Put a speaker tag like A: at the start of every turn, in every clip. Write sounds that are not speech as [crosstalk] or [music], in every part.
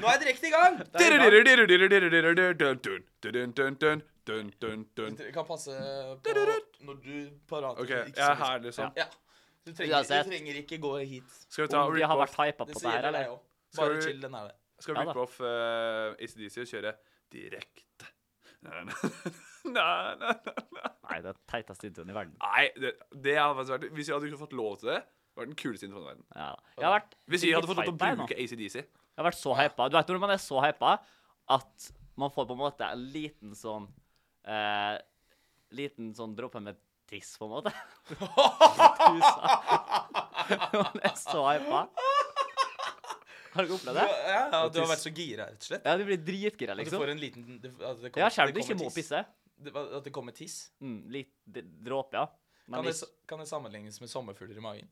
A: Nå er jeg direkte i gang!
B: Ok,
A: Vi kan passe på når du er parat.
B: jeg er her, liksom.
A: Ja. Du trenger,
C: Uansett.
A: du trenger ikke gå hit.
B: Skal vi ta
C: Om de har vært
B: rip-off
C: hypa på
A: Det
C: det
A: sier
C: her,
A: jeg
C: eller?
A: deg òg.
B: Skal
A: Bare
B: vi-
A: chill, den er det.
B: Skal
C: Ja
B: vi
C: da.
B: rip-off uh, ACDC og kjøre direkte? Nei, nei, nei, nei, nei.
C: Nei, det er den teiteste introen i verden.
B: Nei, det, det hadde faktisk vært Hvis vi hadde fått lov til det, det hadde vært den kuleste introen i verden.
C: Ja. Jeg har vært
B: Hvis vi hadde fått lov til
C: hypet
B: å
C: jeg nå.
B: bruke ACDC.
C: Jeg har vært så hypa. Du vet når man er så hypa at man får på en måte en liten sånn eh, Liten sånn dråpe med tiss, på en
B: [laughs]
C: måte. [laughs] man er så hypa. Har dere opplevd det?
A: Ja, ja, du har vært så gira, rett og slett.
C: Ja, du blir dritgira,
A: At du
C: liksom.
A: får en liten du, at det kommer,
C: Ja, selv om
A: det
C: du ikke
A: kommer
C: må
A: tiss.
C: pisse.
A: Det- At det kommer tiss.
C: Mm, litt d- dråpe, ja.
A: Kan
C: Men
A: det,
C: litt,
A: kan det sammenlignes med sommerfugler i magen?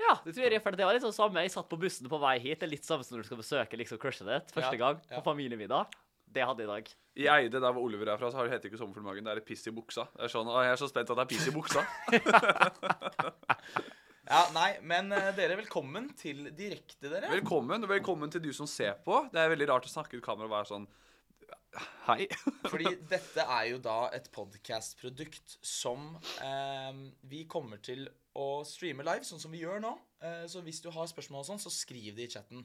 C: ja, det tror jeg, for det var litt sånn samme. Jeg satt på bussen på vei hit. Det er litt samme som når du skal besøke liksom crushet ditt første
A: Ja,
C: gang
A: ja.
C: på familiemiddag. Det hadde jeg i dag.
B: I Eide, der hvor Oliver er fra, så har- heter det ikke sommerfugl i magen. Det er et piss i buksa. Det er sånn, å, jeg er så spent at det er piss i buksa.
C: [laughs]
A: Ja, nei, men eh, dere, velkommen til direkte, dere.
B: Velkommen, og velkommen til du som ser på. Det er veldig rart å snakke ut kamera og være sånn Hei. [laughs]
A: Fordi dette er jo da et podcast-produkt som eh, vi kommer til å streame live, sånn som vi gjør nå. Eh, så hvis du har spørsmål og sånn, så skriv det i chatten.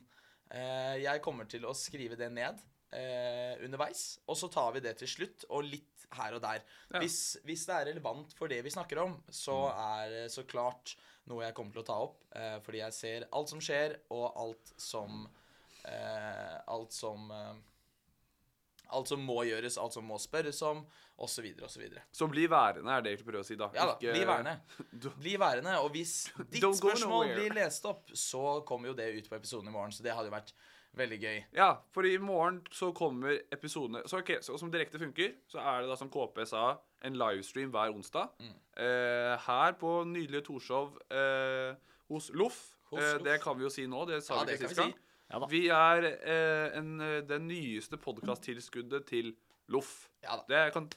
A: Eh, jeg kommer til å skrive det ned eh, underveis, og så tar vi det til slutt, og litt her og der. Hvis, hvis det er relevant for det vi snakker om, så er det så klart noe jeg kommer til å ta opp, eh, fordi jeg ser alt som skjer, og alt som eh, Alt som eh, Alt som må gjøres, alt som må spørres om, osv. osv.
B: Så bli værende, er det jeg prøver å si, da.
A: Ja da,
B: Ikke-
A: bli værende.
B: [laughs] Du-
A: Bli værende, og hvis ditt
B: Don't go
A: spørsmål
B: nowhere.
A: blir lest opp, så kommer jo det ut på episoden i morgen, så det hadde jo vært veldig gøy.
B: Ja, for i morgen så kommer episodene Så ok, så som direkte funker, så er det da som KP sa, en livestream hver onsdag.
A: Mm.
B: Eh, her på nydelige Torshov eh, hos Loff.
A: Hos
B: Eh,
A: Loff.
B: det kan vi jo si nå. Det sa
A: Ja,
B: vi
A: det
B: ikke
A: kan
B: sist
A: vi
B: gang.
A: si.
C: Ja da.
B: vi er eh, en, eh, det nyeste podkasttilskuddet til Loff.
A: Ja da.
B: det, kan,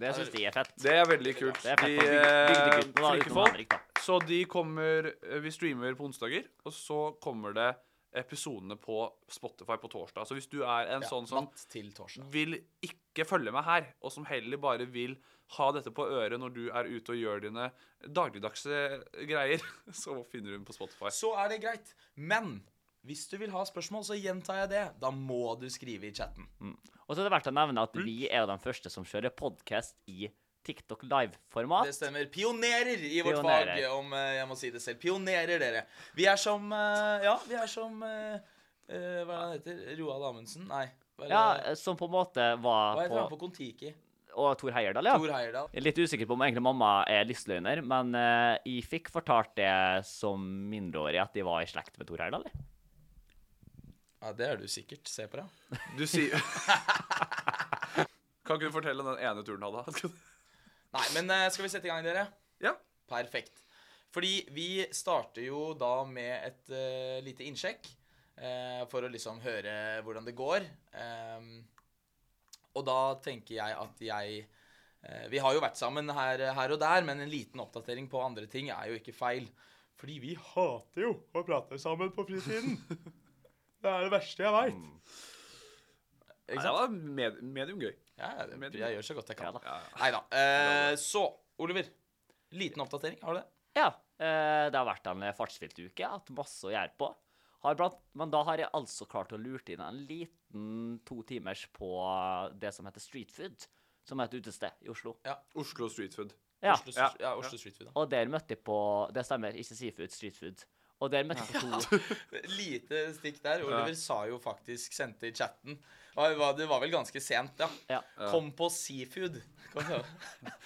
C: Det syns de er fett.
B: det er veldig kult.
C: Det er fett
B: De,
C: at
B: eh,
C: bygde- bygdeguttene da,
B: flinke
C: utenom
B: folk.
C: Henrik, da.
B: Så de kommer eh, Vi streamer på onsdager, og så kommer det episodene på Spotify på torsdag. Så hvis du er en
A: Ja,
B: sånn som
A: natt til torsdag.
B: vil ikke følge med her, og som heller bare vil ha dette på øret når du er ute og gjør dine dagligdagse greier, [laughs] så finner du den på Spotify.
A: Så er det greit. Men hvis du vil ha spørsmål, så gjentar jeg det. Da må du skrive i chatten.
C: Og så er det verdt å nevne at vi er jo den første som kjører podkast i TikTok
A: Det
C: Live-format.
A: stemmer. Pionerer i vårt
C: Pionerer.
A: fag, om eh, jeg må si det selv. Pionerer, dere. Vi er som eh, Ja, vi er som eh, eh, Hva er det han heter? Roald Amundsen? Nei. Hva
D: eh,
A: er det-
C: Ja, Eh, som på en måte
A: hva
C: var
A: heter han
C: på
A: på Kon-Tiki?
C: Og Tor Heyerdahl, ja.
A: Tor Heyerdahl.
C: Jeg er litt usikker på om egentlig mamma er lystløgner, men eh, jeg fikk fortalt det som mindreårig at de var i slekt med Tor Heyerdahl. jeg.
A: Ja, det er du sikkert. Se på deg.
B: Du sier [laughs] Kan ikke du
A: [laughs]
B: fortelle om den ene turen han hadde?
A: Nei, men eh, skal vi sette i gang, dere?
B: Ja.
A: Perfekt. Fordi vi starter jo da med et eh, lite innsjekk eh, for å liksom høre hvordan det går. Ehm, og da tenker jeg at jeg eh, Vi har jo vært sammen her, her og der, men en liten oppdatering på andre ting er jo ikke feil. Fordi vi hater jo å prate sammen på fritiden. [laughs] Mm. Det er det verste jeg veit.
D: Nei,
A: Ikke
D: det
A: sant?
D: var med, medium gøy.
A: Ja, ja, det, jeg gjør så godt jeg kan.
B: Ja da.
A: Nei da. Eh, så, Oliver. Liten oppdatering, har du det?
B: Ja. eh, Det har vært en fartsfylt uke. Hatt masse å gjøre på. Har blant, men da har jeg altså klart å lure inn en liten to timers på det som heter street food, som er et utested i Oslo.
D: Oslo Street Food.
B: Ja.
A: Oslo, ja. ja, Oslo Street Food, da.
B: Og der møtte jeg på Det stemmer, ikke seafood, street food. Og der møtte jeg på to
A: [laughs] Lite stikk der. Oliver sa jo faktisk, sendte i chatten Ja, Det var, det var vel ganske sent, ja.
B: Ja.
A: Kom på seafood. Kom på.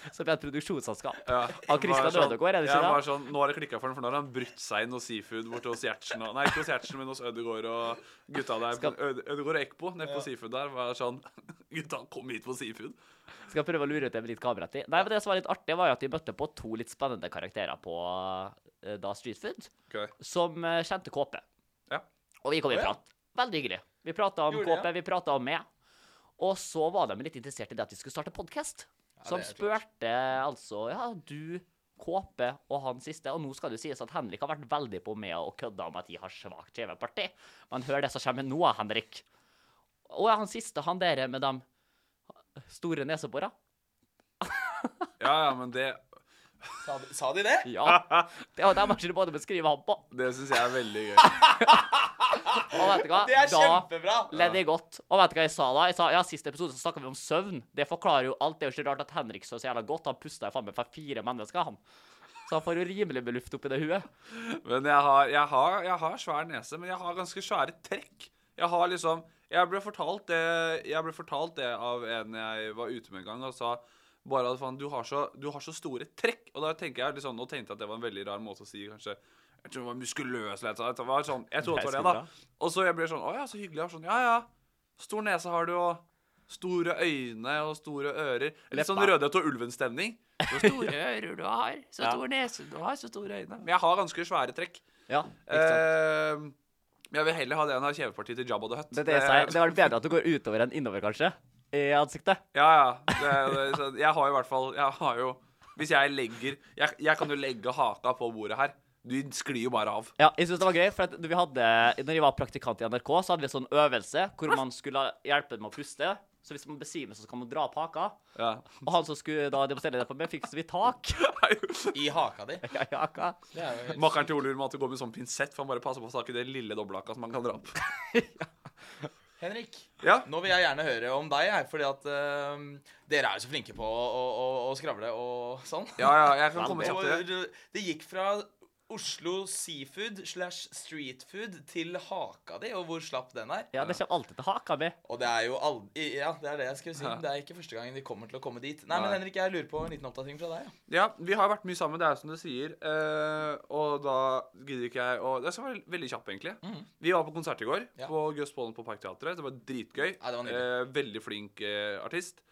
B: som er et produksjonsselskap.
D: Ja.
B: Av Christian
D: Bare sånn-
B: Ødegaard, er det
D: ja,
B: ikke det?
D: bare Sånn, nå har det klikka for ham, for nå har han brutt seg inn hos Seafood borte hos Gjertsen. Og, nei, ikke hos Gjertsen, men hos Ødegaard og gutta der.
B: Skal-
D: Øde- Ødegaard og Ekpo nede på Seafood der var sånn [laughs] Gutta, kom hit på Seafood.
B: Skal jeg prøve å lure ut det med litt kameratid. Nei, men det som var litt artig, var jo at de møtte på to litt spennende karakterer på eh, da Street Food,
D: Ok.
B: som eh, kjente KP.
D: Ja.
B: Og vi kom i
A: Å, ja.
B: prat. Veldig hyggelig. Vi prata om
A: Gjorde det,
B: KP, vi prata om meg. Og så var de litt interessert i det at vi skulle starte podkast.
A: det er
B: så de
A: klart.
B: spurte altså Ja, du, KP og han siste. Og nå skal det jo sies at Henrik har vært veldig på meg og kødda om at jeg har svakt TV-parti. Men hør det som kommer nå, Henrik. Og han siste, han der med de store nesebora.
D: Ja, ja, men det,
A: Sa, de- sa de det?
B: Ja. Det var der matchen du både beskrive ham på.
D: det syns jeg er veldig gøy.
B: Og vet du hva?
A: Det er
B: Da
A: kjempebra!
B: ledde jeg godt. Og vet du hva jeg sa da? Jeg sa, ja, Sist episode så snakka vi om søvn. Det forklarer jo alt. Det er jo ikke rart at Henrik så så jævla godt. Han pusta jo faen meg for fire mennesker, han. Så han får jo rimelig med luft oppi det huet.
D: Men jeg har, jeg, har, jeg har svær nese, men jeg har ganske svære trekk. Jeg har liksom Jeg ble fortalt det, jeg ble fortalt det av en jeg var ute med en gang, og sa bare at faen, du, har så- du har så store trekk. Og da tenker jeg liksom, nå tenkte jeg at det var en veldig rar måte å si kanskje Jeg tror det var muskuløs eller et eller annet. Det var sånn, jeg trodde det var det, da. Og så jeg ble sånn Å ja, så hyggelig. Jeg var sånn Ja ja. Stor nese har du, og store øyne og store ører. Litt sånn Rødhette og ulven-stemning. Så
B: [laughs]
D: store ører du har, så stor nese du har, så store øyne. Men jeg har ganske svære trekk.
B: Ja, ikke sant.
D: Eh, men jeg vil heller ha det enn å ha kjevepartiet til Jabba the Hutt.
B: Det, er det, jeg sier. det var bedre at du går utover enn innover, kanskje. I ansiktet.
D: Ja, ja. Det, det, så jeg har jo i hvert fall Jeg har jo Hvis jeg legger jeg, jeg kan jo legge haka på bordet her. Du sklir jo bare av.
B: Ja, jeg synes det var gøy, for at når vi hadde, når jeg var praktikant i NRK, så hadde vi en sånn øvelse hvor man skulle hjelpe med å puste. Så hvis man besvimer, så skal man dra opp haka.
D: Ja.
B: Og han som skulle da demonstrere det for meg, fikk så vidt tak.
D: [laughs]
A: I haka di.
B: Ja, ja, hva?
A: Det er jo helt
D: Makkeren til Ole Ulmate går med sånn pinsett for han bare passer på å ta ikke det lille dobbelthaka som han kan dra opp.
A: Henrik,
D: Ja.
A: nå vil jeg gjerne høre om deg, jeg, fordi at øhm, dere er jo så flinke på å, å, å, å skravle og sånn.
D: Ja, ja, jeg
A: [laughs]
D: kan komme kjapt til det.
A: Og det gikk fra Oslo seafood slash streetfood til haka di, og hvor slapp den er.
B: [laughs] Ja, det kommer alltid til haka mi.
A: Og det er jo aldri Ja, det er det jeg skulle si. Det er ikke første gangen de kommer til å komme dit. Nei, men Henrik, jeg lurer på en liten oppdatering fra deg. Ja.
D: Ja, vi har vært mye sammen, det er jo som du sier. eh, og da gidder ikke jeg å Det skal være veldig kjapp, egentlig.
C: Mm.
D: Vi var på konsert i går,
A: Ja.
D: på Gus Pollen på Parkteatret. Det var dritgøy.
A: Ja, det var nydelig.
D: Eh, veldig flink eh, artist.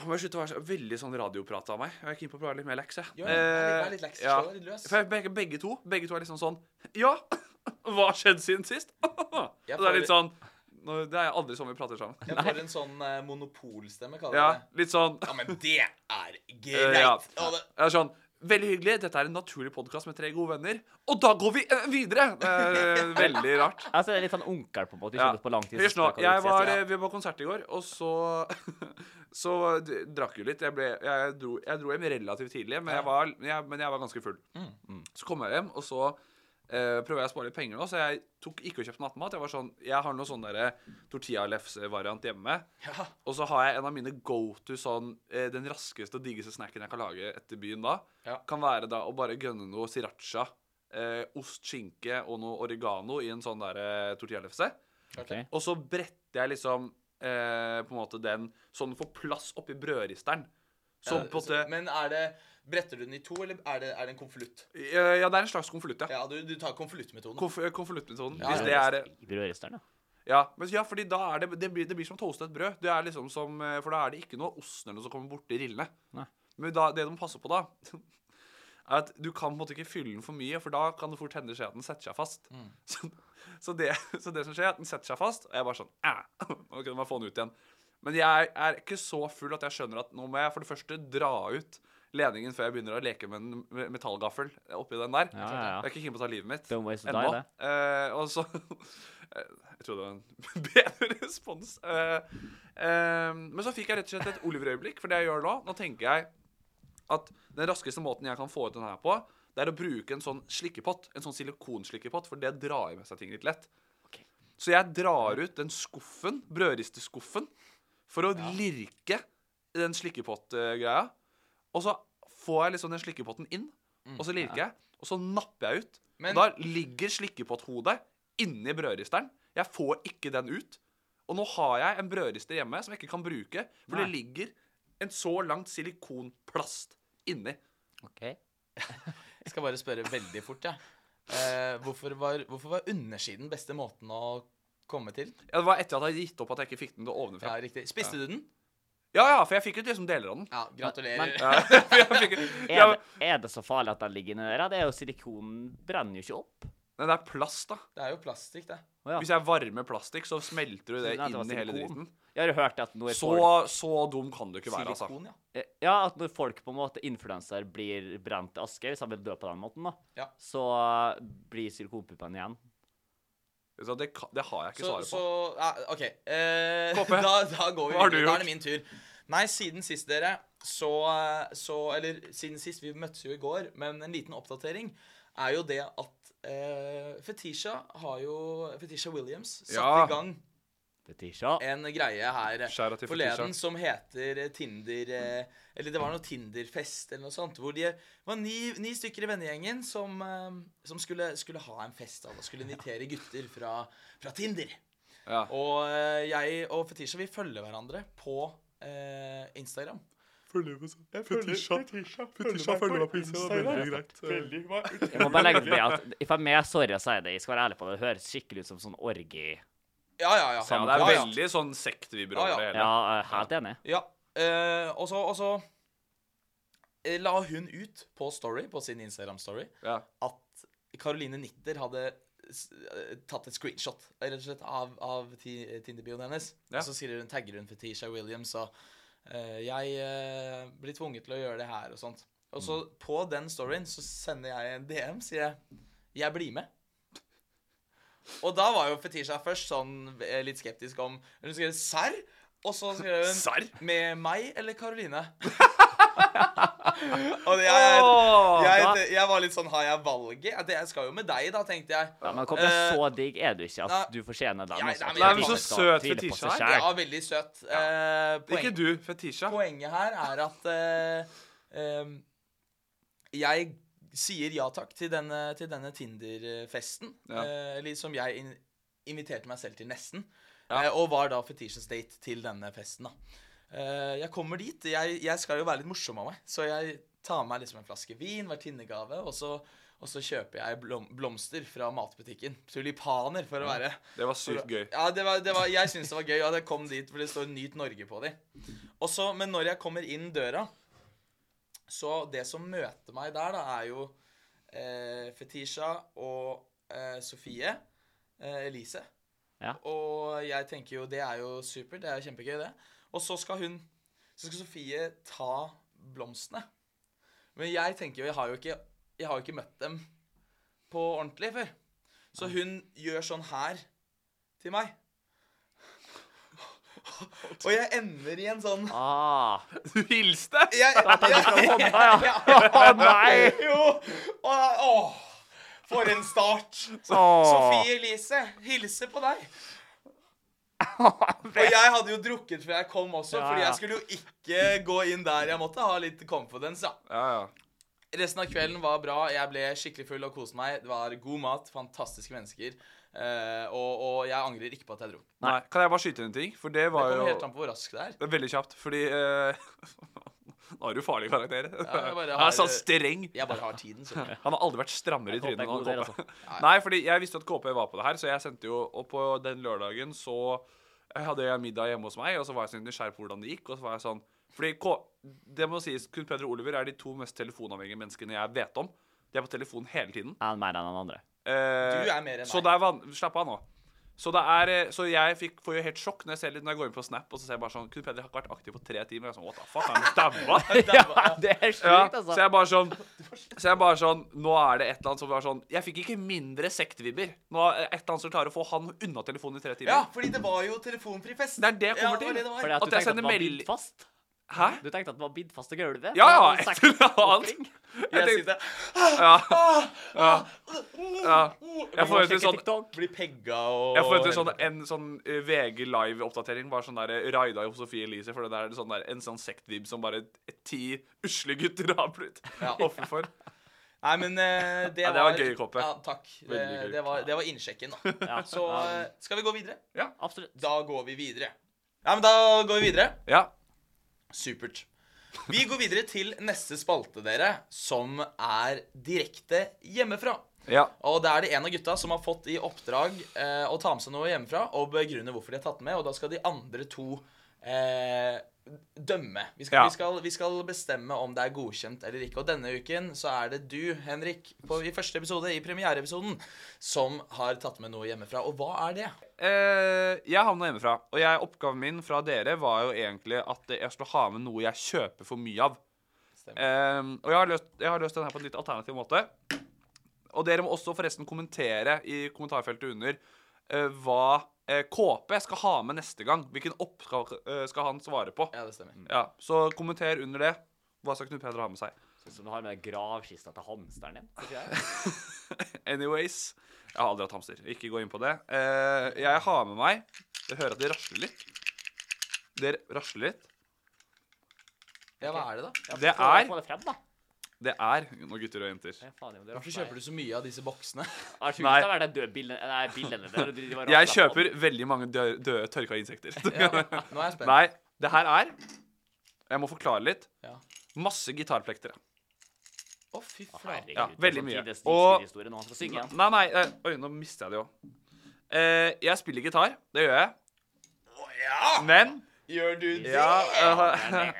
D: Han må slutte å være så veldig sånn radioprat av meg. Jeg er keen på å prøve litt mer leks, jeg.
A: Jo, vær litt- vær litt leks,
D: Eh, ja.
A: slå deg litt løs.
D: For jeg, begge, begge to Begge to er liksom sånn Ja, [laughs] hva har skjedd siden sist? Og det er litt sånn nå, Det er aldri sånn vi prater sammen.
A: Jeg får en sånn eh, monopolstemme, kaller
D: Ja,
A: jeg det.
D: litt sånn
A: Ja, men det er
D: [laughs] Eh,
A: greit.
D: ja.
A: Og det,
D: Jeg er sånn Veldig hyggelig. Dette er en naturlig podkast med tre gode venner. Og da går vi eh, videre! Det er eh, veldig rart.
B: [laughs] Altså, det er litt sånn onkel, på en måte. Ikke gått på lang tid.
D: Hysj
B: så
D: nå.
B: skal
D: Jeg
B: vi ses,
D: var,
B: ja.
D: eh, vi var på konsert i går, og så [laughs] Så d- drakk jo litt. Jeg, ble, jeg, dro,
A: eh,
D: jeg dro hjem relativt tidlig, men jeg var, jeg, men jeg var ganske full. Så kom jeg hjem, og så eh, prøver jeg å spare litt penger nå, så jeg tok, gikk og kjøpte nattmat. Jeg var sånn, jeg har noe sånn derre tortillalefs-variant hjemme. Og så har jeg en av mine go to sånn eh, Den raskeste og diggeste snacken jeg kan lage etter byen da,
A: Ja. Eh,
D: kan være da å bare gønne noe sriracha. Eh, ost, skinke og noe oregano i en sånn der, eh, tortillalefse.
B: Ok.
D: Og så bretter jeg liksom eh, på en måte den sånn den får plass oppi brødristeren. Så på en måte
A: så- men er det Bretter du den i to, eller er det, er det en konvolutt?
D: Eh, Ja, det er en slags konvolutt, ja.
A: Ja, du, du tar konvoluttmetoden.
D: Konf eh, Konvoluttmetoden.
A: Ja,
D: hvis det
B: ja.
D: er
B: I brødristeren, ja.
D: Ja, men ja, fordi da er det det blir, det blir som toastet brød. Det er liksom som eh, For da er det ikke noe ost eller noe som kommer borti rillene.
B: Nei.
D: Men da, det du må passe på, da
B: [laughs] er at du kan på en måte ikke fylle den for mye, for da kan det fort hende skje at den setter seg fast. Så, så, det, [laughs] så det som skjer, er at den setter seg fast, og jeg bare sånn Æh! [laughs] Nå kunne man få den ut igjen. Men jeg er ikke så full at jeg skjønner at nå må jeg for det første dra ut ledningen før jeg begynner å leke med en me- metallgaffel oppi den der.
C: ja, ja.
B: Jeg er ikke keen på å ta livet mitt.
C: Don't waste a
B: ennå.
C: die, det.
B: Eh, og så [laughs] Eh, Jeg trodde det var en [laughs] bedre respons. Eh, eh, men så fikk jeg rett og slett et Oliver-øyeblikk, for det jeg gjør nå Nå tenker jeg at den raskeste måten jeg kan få ut den her på, det er å bruke en sånn slikkepott. En sånn silikonslikkepott, for det drar jo med seg ting litt lett. Så jeg drar ut den skuffen, brødristeskuffen, for å lirke i den slikkepott-greia. Og så får jeg liksom den slikkepotten inn, og så lirker jeg. Og så napper jeg ut.
A: Mm, Men-
B: og da ligger slikkepotthodet inni brødristeren. Jeg får ikke den ut. Og nå har jeg en brødrister hjemme som jeg ikke kan bruke, for det ligger en så langt silikonplast inni.
C: OK.
A: Jeg skal bare spørre veldig fort, jeg. Eh, hvorfor, var, hvorfor var undersiden beste måten å komme til?
B: Ja, det var etter at jeg hadde gitt opp at jeg ikke fikk den til
A: Ja,
B: ovenfra.
A: riktig. Spiste du den?
B: Ja, ja, for jeg fikk ut liksom deler av den.
A: Ja, gratulerer.
B: For jeg
C: [laughs]
B: fikk, ja,
C: Er, det- er det så farlig at den ligger inni der? Ja, Det er jo silikon brenner jo ikke opp.
B: men det er plast, da.
A: Det er jo plastikk, det.
C: Å, ja.
B: Hvis jeg varmer plastikk, så smelter du det
C: Nei, det var
B: inn i hele
C: silikon.
B: driten.
C: Jeg har jo hørt at når
B: Så,
C: folk, eh,
B: så dum kan du ikke være, altså.
A: Silikon, ja.
C: Ja, at når folk på en måte influenser blir brent til aske, hvis han vil dø på den måten, da,
A: Ja.
C: så blir silikonpuppene igjen.
B: Så det, ka- det har jeg ikke
A: Så,
B: svaret
A: så
B: på.
A: ja, OK. Eh,
B: Kåpe,
A: [laughs] da, da går vi
B: hva har du
A: videre. Da er
B: gjort?
A: det min tur. Nei, siden sist, dere, så, så Eller siden sist, vi møttes jo i går, men en liten oppdatering er jo det at eh, Fetisha har jo Fetisha Williams satt
B: Ja.
A: i gang
C: Fetisha.
A: en greie her
B: Skjæra til
A: forleden
B: Fetisha.
A: som heter eh, Tinder eh, Eller det var noe Tinderfest eller noe sånt. Hvor de, det var ni, ni stykker i vennegjengen som, eh, som skulle, skulle ha en fest. Alle skulle invitere gutter fra, fra Tinder.
B: Ja.
A: Og eh, jeg og Fetisha vi følger hverandre på eh, Instagram.
B: Fetisha, Fetisha følger meg på Instagram. Veldig greit.
C: Jeg må bare legge til det at if I'm med, sorry jeg sier det, jeg skal være ærlig på det, det høres skikkelig ut som sånn orgi.
A: Ja, ja, ja.
B: Ja, det er
A: ja, ja.
B: veldig sånn sektvibro
A: Ja, ja.
B: over det hele.
C: Ja, eh, helt enig.
A: Ja. eh, og så, og så eh, la hun ut på Story, på sin Instagram-story,
B: Ja.
A: at Caroline Nitter hadde s- eh, tatt et screenshot rett og slett av, av Ti- eh, Tinder-bioen hennes.
B: Ja.
A: Og så sier hun, tagger hun Fetisha Williams og eh, Jeg eh, blir tvunget til å gjøre det her og sånt. Og
B: Mm.
A: så på den storyen så sender jeg en DM, sier jeg Jeg blir med. Og da var jo Fetisha først sånn eh, litt skeptisk om Hun skrev 'serr', og så skrev hun
B: Serr?
A: Med meg eller Karoline? og det, jeg,
B: Åh,
A: jeg,
C: da-
A: jeg, var litt sånn Har jeg valget? Ja, det- Jeg skal jo med deg, da, tenkte jeg.
C: Ja, men kom,
A: Eh,
C: så digg er du ikke
A: nei.
C: at du fortjener den.
A: Nei,
C: altså.
A: nei, men jeg-
C: Fetisha
A: Nei, men så
C: skal
B: søt
C: tvile på
B: Fetisha
C: seg
B: er.
C: selv.
A: ja, veldig søt. Eh, poeng,
B: Ikke du, Fetisha.
A: poenget her er at eh, em, jeg sier ja takk til denne, til denne Tinder-festen,
B: Ja.
A: eh, eller som jeg in inviterte meg selv til nesten, eh, og var da Fetishas date til denne festen. da. Eh, jeg kommer dit. Jeg, jeg skal jo være litt morsom av meg, så jeg tar meg liksom en flaske vin, vertinnegave, og så, og så kjøper jeg blom blomster fra matbutikken. Tulipaner, for å være
B: Det var sykt gøy.
A: Altså, ja, det var, det var, jeg syns det var gøy at jeg kom dit, for det står 'Nyt Norge' på dem. Og så, Men når jeg kommer inn døra, så det som møter meg der, da, er jo eh, Fetisha og eh, Sofie. Eh, Elise.
C: Ja.
A: Og jeg tenker jo det er jo supert. Det er jo kjempegøy, det. Og så skal hun Så skal Sofie ta blomstene. Men jeg tenker jo Jeg har jo ikke, jeg har jo ikke møtt dem på ordentlig før. Så hun gjør sånn her til meg. Og jeg ender i en sånn
C: Ah,
B: [laughs] Du
A: [laughs]
B: hilste!
A: jeg, jeg,
C: Å nei!
A: Jo! Og, åh, for en start. Så,
C: Åh.
A: Sofie Elise, hilser på deg. Og jeg hadde jo drukket før jeg kom også,
C: Ja,
A: fordi
C: ja.
A: jeg skulle jo ikke gå inn der jeg måtte. Ha litt confidence, ja.
B: Ja, ja.
A: Resten av kvelden var bra. Jeg ble skikkelig full og koste meg. Det var god mat, fantastiske mennesker. eh, og, og jeg angrer ikke på at jeg dro. Det
B: Nei, kan jeg bare skyte inn en ting? For det var
A: kommer
B: jo
A: helt an på hvor rask det er.
B: Det er Veldig kjapt, fordi eh, [laughs] Nå har du farlig karakter.
A: jeg bare
B: Han
A: har- eh,
B: er sånn streng.
A: Jeg bare har tiden, så
B: Han har aldri vært strammere i
C: Ja, KP
B: trynet
C: er god altså.
B: enn
C: der,
B: KP. Nei, fordi jeg visste at KP var på det her, så jeg sendte jo Og på den lørdagen så hadde jeg middag hjemme hos meg, og så var jeg så nysgjerrig på hvordan det gikk, og så var jeg sånn Fordi K det må sies, Knut Peder og Oliver er de to mest telefonavhengige menneskene jeg vet om. De er på telefon hele tiden.
C: Jeg er mer enn han andre.
B: Eh,
A: Du er mer enn
B: Så
A: meg.
B: det er van Slapp av nå. Så, det er, eh, så jeg fikk, får jo helt sjokk når jeg, ser litt, når jeg går inn på Snap og så ser jeg bare sånn Knut Peder har ikke vært aktiv på tre timer. Jeg er sånn, What the
A: [laughs]
B: fuck, han er daua?
C: Ja, det er sjukt,
B: Ja,
C: altså.
B: så jeg bare sånn Så jeg bare sånn Nå er det et eller annet som var sånn Jeg fikk ikke mindre sektvibber. Nå er det et eller annet som klarer å få han unna telefonen i tre timer.
A: Ja, fordi det var jo telefonfri fest.
B: Det er det jeg
A: Ja,
B: kommer
A: det
B: til.
A: var det det var.
C: Fordi at
B: At
C: du
B: jeg
C: tenkte at
B: sender
C: det var
B: melding-
C: bitt fast?
B: Hæ?
C: Du tenkte at det var bitt fast til gulvet?
B: Ja, ja,
C: Og
B: et
C: sagt
B: eller annet.
C: oppring.
B: Jeg
A: Jeg
B: tenkte-
A: sitter Ah,
B: Ja. Ja. ja.
C: [laughs] Må
B: Jeg forventer
C: sjekke
B: sånn
C: TikTok.
A: Blir pegga og
B: jeg forventer sånn, en sånn eh, VG Live-oppdatering. Bare sånn der eh, Raida og Sofie Elise. For det der er sånn der, en sånn sektvib som bare ti usle gutter [laughs] har blitt
A: Ja.
B: offer for.
A: Nei, men eh, det,
B: Ja, det var gøy, Kåpe.
A: Ja, takk. Det,
B: Veldig gøy.
A: det, var, det var innsjekken, da.
B: [laughs]
C: Ja.
A: Så eh, skal vi gå videre?
C: Absolutt.
A: Da går vi videre. Ja, men da går vi videre.
B: Ja.
A: Supert. Vi går videre til neste spalte, dere, som er direkte hjemmefra.
B: Ja.
A: Og det er det en av gutta som har fått i oppdrag eh, å ta med seg noe hjemmefra og begrunne hvorfor de har tatt den med, og da skal de andre to eh, dømme. Vi skal,
B: Ja.
A: vi, skal, vi skal bestemme om det er godkjent eller ikke. Og denne uken så er det du, Henrik, på, i første episode, i premiereepisoden, som har tatt med noe hjemmefra. Og hva er det?
B: Eh, jeg havna hjemmefra, og jeg, oppgaven min fra dere var jo egentlig at jeg skulle ha med noe jeg kjøper for mye av. Eh, og jeg har, løst, jeg har løst den her på en litt alternativ måte. Og dere må også forresten kommentere i kommentarfeltet under eh, hva eh, KP skal ha med neste gang. Hvilken oppgave eh, skal han svare på?
A: Ja, det stemmer.
B: Ja, så kommenter under det. Hva skal Knut Peder ha med seg?
C: Sånn som du har med gravkista til hamsteren din. tror jeg.
B: [laughs] Anyways, jeg har aldri hatt hamster. Ikke gå inn på det. Eh, jeg har med meg Jeg hører at det rasler litt. Det rasler litt.
A: Ja, hva er det, da?
B: Det
C: Få
B: er
C: få det frem, da.
B: Det er Nå, gutter og jenter.
C: Ja, faen, jo, det
A: Hvorfor kjøper du så mye av disse boksene?
C: Jeg tror
B: Nei.
C: det er døde bildene Nei, bildene der, de- de var
B: Jeg
C: raslet på.
B: kjøper veldig mange døde, døde tørka
A: [laughs]
B: insekter.
A: Nå er jeg spent.
B: Nei, det her er Jeg må forklare litt.
A: Ja.
B: Masse gitarplekter.
A: Å, fy flate.
C: Herregud,
B: Ja,
C: det er
B: veldig
C: sånn
B: mye.
C: tidenes
B: Og-
C: livshistorie når han skal synge igjen.
B: Nei, nei eh, Oi, nå mista jeg det òg. jeg spiller gitar. Det gjør jeg. Men
A: Gjør du det?
B: ja, [laughs] eh,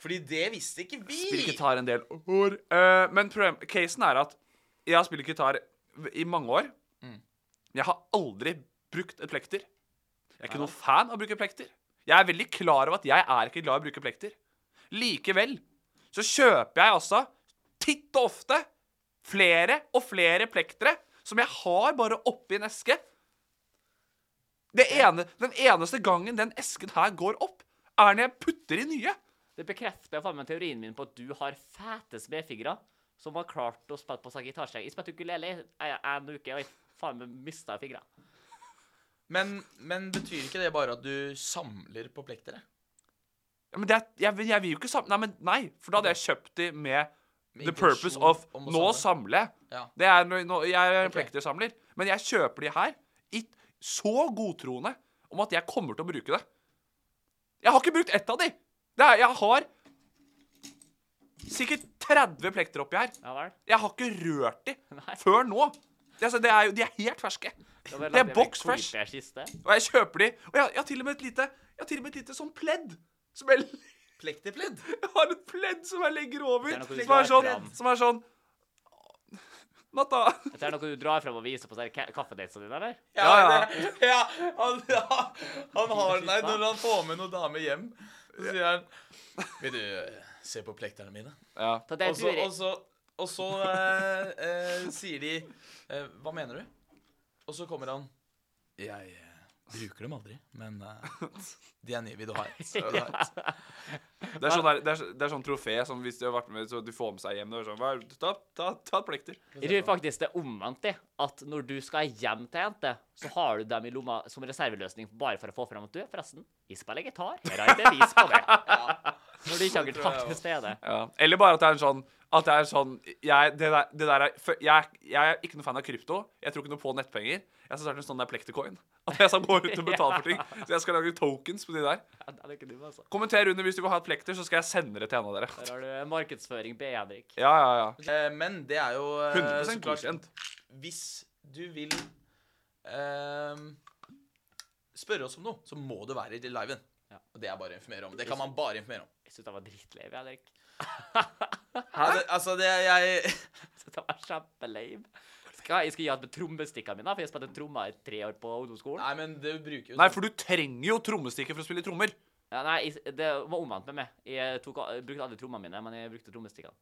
A: Fordi det visste ikke vi.
B: spiller gitar en del år. Eh, men problem, casen er at jeg har spilt gitar i mange år. Jeg har aldri brukt et plekter. Jeg er ikke noen fan av å bruke plekter. Jeg er veldig klar over at jeg er ikke glad i å bruke plekter. Likevel så kjøper jeg altså titt og ofte flere og flere plektere som jeg har bare oppi en eske. Det ene, den eneste gangen den esken her går opp, er når jeg putter i nye.
C: Det bekrefter faen meg teorien min på at du har fete smedfingre som har klart å spille på seg gitarstreng. Jeg spilte ukulele i en uke, og jeg faen meg mista fingra.
A: Men, men betyr ikke det bare at du samler på plektere?
B: Ja, Men det er, jeg, vil- jeg vil jo ikke samle Nei, men nei, for da hadde jeg kjøpt de med the purpose
A: intensjon
B: of
A: om å
B: Nå samler jeg.
A: Ja.
B: Det er når, når, jeg er en
A: Ok.
B: plektersamler. Men jeg kjøper de her i så godtroende om at jeg kommer til å bruke det. Jeg har ikke brukt ett av de. Det er, jeg har sikkert 30 plekter oppi her.
C: Ja vel?
B: Jeg har ikke rørt de
C: [laughs] Nei.
B: før nå. Det, altså, det er, jo- de er helt ferske.
C: Da bare
B: Det
C: lagde
B: er
C: jeg meg
B: box fresh.
C: klipperkiste.
B: Og jeg kjøper de. Og jeg, jeg har til og med et lite Jeg har til og med et lite sånn pledd som jeg
A: Plekterpledd?
B: [laughs] jeg har et pledd som jeg legger over,
C: Det er noe du
B: som er,
C: drar
B: sånn,
C: fram.
B: som er sånn Natta.
C: Dette er noe du drar frem og viser på sånne ka- kaffedatene dine, eller?
B: Ja, ja.
A: det- [laughs] ja, han, ja, han har Nei, når han får med noen damer hjem, så sier han Vil du eh, se på plekterne mine?
B: Ja.
C: Så det
A: Og så,
C: tror jeg-
A: og så, og så eh, eh, sier de eh, Hva mener du? Og så kommer han Jeg eh, bruker dem aldri, men eh, de er nye. Vil du ha et? Så det er-
B: Det er sånn, der, det er, så- det er sånn trofé som hvis du har vært med, så du får med seg hjem. Det er sånn, «Hva er det? ta, ta, ta et plekter.
C: Jeg tror faktisk det er omvendt, det. At når du skal hjem til jente, så har du dem i lomma som reserveløsning bare for å få fram at du, forresten, jeg spiller gitar. Her har jeg bevis på det. Når du ikke har gitar til stede.
B: Ja. Eller bare at det er en sånn at det er sånn jeg, det der, det der er, fø- jeg, jeg er ikke noe fan av krypto. Jeg tror ikke noe på nettpenger. Jeg skal starte en sånn der plektercoin. [laughs] At jeg skal gå ut og
C: [laughs]
B: betale for ting. Så jeg skal lage tokens på de der.
C: Ja, det er ikke dum, altså.
B: Kommenter under hvis du vil ha et plekter, så skal jeg sende det til en av dere.
C: Der har du markedsføring B, Henrik.
B: Ja, ja, ja.
A: Eh, Men det er jo eh,
B: 100
A: så klart-
B: godkjent.
A: Hvis du vil eh, spørre oss om noe, så må du være i liven. Og det er bare å informere om. Det kan man bare informere om.
C: Jeg syns jeg var drittlei, jeg, Henrik.
A: Hæ? Det, altså, det jeg
C: Så det var kjempelame. Skal jeg, jeg skal gi alt med trommestikkene mine, for jeg spilte trommer i tre år på ungdomsskolen.
A: Nei, men du bruker jo
B: Nei, for du trenger jo trommestikker for å spille trommer.
C: Ja, nei, jeg, det var omvendt med meg. Jeg, tok, jeg brukte aldri trommene mine, men jeg brukte trommestikkene.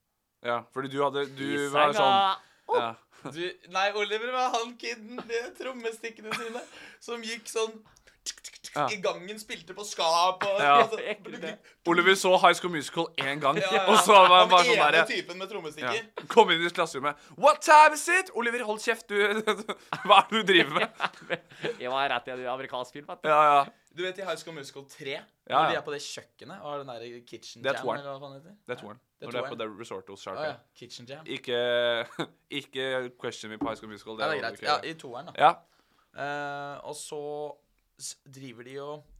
B: Ja, fordi du hadde Du
C: I
B: var sånn
C: senga.
B: ja.
A: du, Nei, Oliver var han kiden med trommestikkene sine som gikk sånn
B: Ja.
A: i gangen, spilte på skap og
B: Ja.
A: altså,
C: Jeg gjorde [laughs] det.
B: Oliver så High School Musical én gang,
A: ja, ja.
B: og så var han
A: Han
B: bare sånn
A: ene
B: derre
A: typen med
B: ja.
A: trommestikker.
B: Kom inn i klasserommet. What time is it? Oliver, hold kjeft, du. [laughs] Hva er det du driver med?
C: Jeg var rett i en amerikansk film. Vet du.
B: Ja, ja.
A: Du vet i High School Musical 3,
B: Ja,
A: når de
B: ja.
A: er på det kjøkkenet og har den der kitchen
B: Det er
A: jam,
B: toeren.
A: eller hva faen det heter?
B: Det er toeren.
A: Det er
B: Når det er
A: toeren.
B: på The Resort
A: Å
B: hos
A: ja.
B: Sharpie.
A: Kitchen jam.
B: Ikke, [laughs] ikke question me på High School Musical.
A: Nei, det er greit.
B: var ok.
A: Ja, I toeren, da.
B: Ja.
A: Eh, og så s- driver de og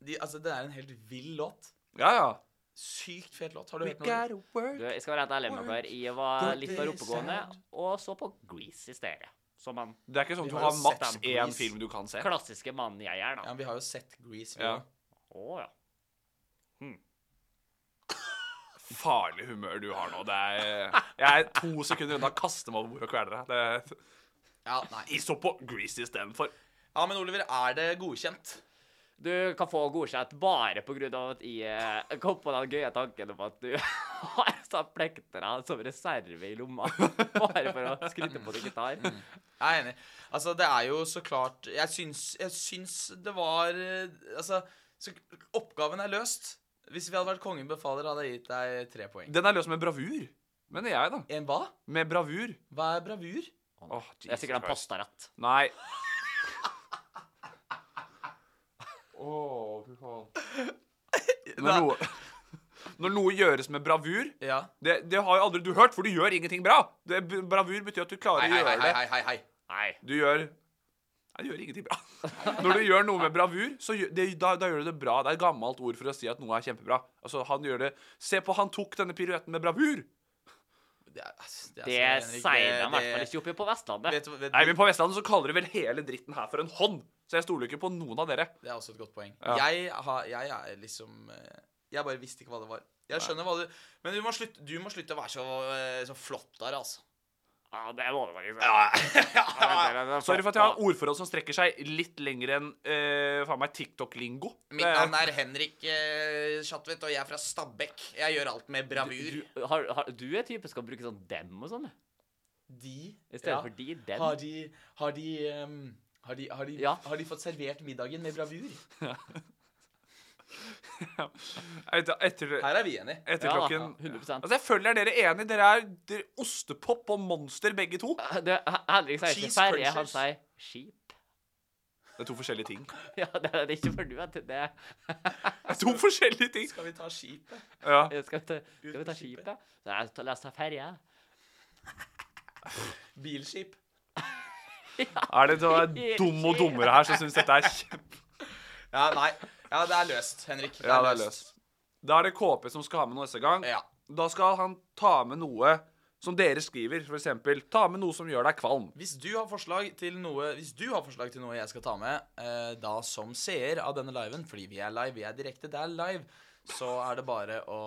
A: de, Altså, det er en helt vill låt.
B: ja, ja.
A: Sykt fet låt. Har du hørt noe?
C: Du, jeg skal være rett ærlig med dere. Jeg var litt for oppegående og så på Grease i stedet. Som den
B: Det er ikke sånn
A: Vi
B: at du
A: har
B: har
A: jo
B: maks
A: sett den
B: én
A: Grease.
B: film du kan se.
C: klassiske mannen jeg er,
A: Ja,
C: da.
A: men vi har jo sett Grease.
B: Ja.
A: Ja.
C: Å ja. Hm.
B: Farlig humør du har nå. Det er, jeg er to sekunder unna å kaste meg over bordet og kvele deg. Det-
A: Ja, nei.
B: Jeg så på Grease istedenfor.
A: ja, men Oliver, er det godkjent?
C: Du kan få godkjent bare på grunn av at jeg eh, kom på den gøye tanken om at du [laughs] har sånn plektere som reserve i lomma. Bare for å skryte på din gitar.
A: Jeg er enig. Altså, det er jo så klart Jeg syns, jeg syns det var eh, Altså, så, oppgaven er løst. Hvis vi hadde vært kongen befaler, hadde jeg gitt deg tre poeng.
B: [laughs] Den er løs med bravur, mener jeg, da.
A: En hva?
B: Med bravur.
A: Hva er bravur?
B: Åh,
C: Det er sikkert en
B: Jesus Christ.
C: pastarett.
B: Nei. Åh, fy faen. Når noe, når noe gjøres med bravur
A: Ja.
B: det, det har jo aldri du hørt, for du gjør ingenting bra. Det, bravur betyr at du klarer
A: Hei, hei,
B: å
A: hei,
B: gjøre
A: hei,
B: det.
A: hei, hei, hei.
C: Nei.
B: Du gjør Nei, du gjør ingenting bra. [laughs] Når du gjør noe med bravur, så gjør, det, da, da gjør du det bra. Det er et gammelt ord for å si at noe er kjempebra. Altså, han gjør det Se på, han tok denne piruetten med bravur!
A: Det, er- ass, det, er
C: Det
A: så-
C: sier de i
A: Henrik,
C: hvert fall
A: det-
C: ikke oppe på Vestlandet.
A: Vet du hva- vet-
B: Nei, men på Vestlandet så kaller de vel hele dritten her for en hånd. Så jeg stoler ikke på noen av dere.
A: Det er også et godt poeng.
B: Ja.
A: Jeg, har, jeg er liksom eh, Jeg bare visste ikke hva det var. Jeg skjønner hva du Men du må slutte, du må slutte å være så, eh, så flott der, altså.
C: Ja, det må det faktisk
B: [laughs]
C: Altså,
B: Sorry for at jeg har ordforråd som strekker seg litt lenger enn eh, faen meg TikTok-lingo.
A: Mitt navn er Henrik eh, Schatvedt, og jeg er fra Stabekk. Jeg gjør alt med bravur.
C: Du, har, har, du er typen som skal bruke sånn dem og sånn.
A: De
C: I stedet for de, den.
A: Har de Har de ehm, har de, har, de,
C: Ja.
A: har de fått servert middagen med bravur?
B: [laughs] Etter, etter,
A: Her er vi enige.
B: etter
C: Ja, da,
B: klokken
C: ja, 100%.
B: Altså, jeg føler dere er enige. Dere er dere, ostepop og monster, begge to. Det
C: Det, Henrik sier ikke
A: Cheese
C: ferje, han
A: crunchers.
C: sier skip.
B: er to forskjellige ting.
C: [laughs] Ja, det er det ikke for du, vet du. Det
B: Det er to forskjellige ting.
A: Skal vi ta skipet?
B: Ja.
C: Skal vi ta, skal vi ta
A: skipet.
C: skipet? Nei, ta- la oss ta ferje.
A: Bilskip.
B: Er det noe dum og dummere her som syns dette er kjempe...
A: Ja, nei. Ja, det er løst, Henrik.
B: Ja, det er løst. Da er det KP som skal ha med noe neste gang.
A: Ja.
B: Da skal han ta med noe som dere skriver, for eksempel. Ta med noe som gjør deg kvalm.
A: Hvis du har forslag til noe Hvis du har forslag til noe jeg skal ta med, eh, da som seer av denne liven, fordi vi er live, vi er direkte, det er live, så er det bare å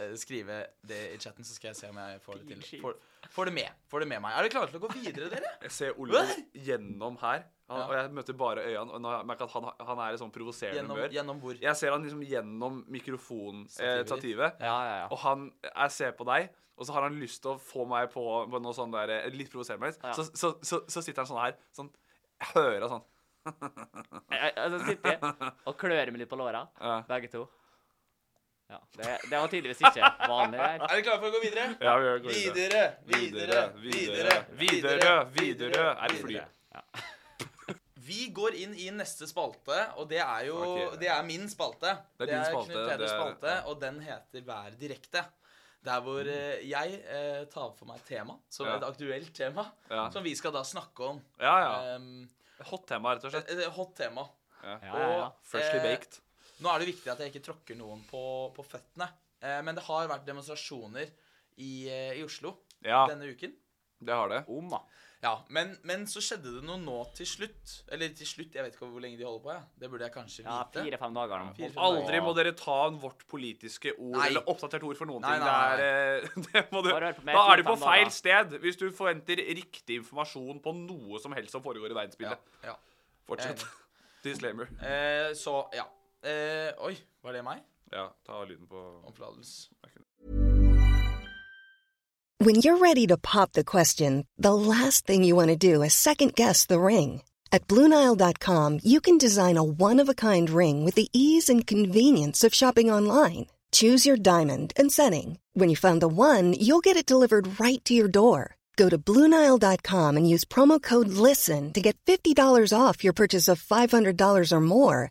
A: eh, skrive det i chatten, så skal jeg se om jeg får det til. Får, får det med. Får det med meg. Er dere klare til å gå videre, dere?
B: Jeg ser Oliver
A: Hva?
B: gjennom her, han, og jeg møter bare øynene. Og nå merker jeg at han, han er i sånn provoserende
A: Gjennom,
B: humør.
A: gjennom hvor?
B: Jeg ser han liksom gjennom mikrofonstativet. Eh,
A: Stativet.
B: stativet.
C: Ja, ja, ja.
B: Og han Jeg ser på deg, og så har han lyst til å få meg på, på noe sånn der eh, Litt provoserende.
C: Ja.
B: Så, så, så, så sitter han sånn her. Sånn jeg Hører han sånn
C: Jeg, jeg, så sitter jeg og klør meg litt på låra,
B: [laughs] Ja.
C: begge to. Ja, det, det var tydeligvis ikke vanlig der.
A: Er dere klare for å gå videre?
B: Ja, vi går
A: Videre, videre, videre,
B: Widerøe, Widerøe er det fly.
A: Vi går inn i neste spalte, og det er jo
B: Ok.
A: Det er min spalte.
B: Det er din spalte,
A: Knut Peders
B: det er-
A: spalte,
B: ja. Mm.
A: og den heter Vær direkte. Der hvor eh, jeg eh, tar for meg et tema, som
B: Ja.
A: et aktuelt tema,
B: Ja.
A: som vi skal da snakke om.
B: Ja, ja.
A: Ehm,
B: Hot tema, rett og slett.
A: et, et hot tema.
C: Ja, ja, ja.
B: Freshly
A: eh,
B: baked.
A: Nå er det viktig at jeg ikke tråkker noen på, på føttene, eh, men det har vært demonstrasjoner i, eh, i Oslo
B: Ja,
A: denne uken.
B: det har det.
C: Om, da.
A: Ja, men, men så skjedde det noe nå til slutt. Eller til slutt, jeg vet ikke hvor lenge de holder på. Ja. Det burde jeg kanskje
E: Ja,
A: vite.
E: Fire-fem dager. de
A: Fire-fem
E: holdt på.
B: Aldri må dere ta en vårt politiske ord
A: Nei.
B: eller oppdatert ord for noen
A: Nei,
B: ting.
A: nei,
B: Det er, eh, [laughs] det må du,
E: Bare hør på meg,
B: da er du på
E: fire-fem
B: feil
E: dager.
B: sted hvis du forventer riktig informasjon på noe som helst som foregår i
A: Ja,
B: verdensbildet.
A: ja.
B: Fortsett. [laughs] Disclaimer.
A: Eh, så, ja. Eh, oi, var det meg?
B: Ja, ta lyden på
A: Omfladelse.
C: When you're ready to pop the question, the last thing you want to do is second guess the ring. At Bluenile.com, you can design a one of a kind ring with the ease and convenience of shopping online. Choose your diamond and setting. When you find the one, you'll get it delivered right to your door. Go to Bluenile.com and use promo code LISTEN to get $50 off your purchase of $500 or more.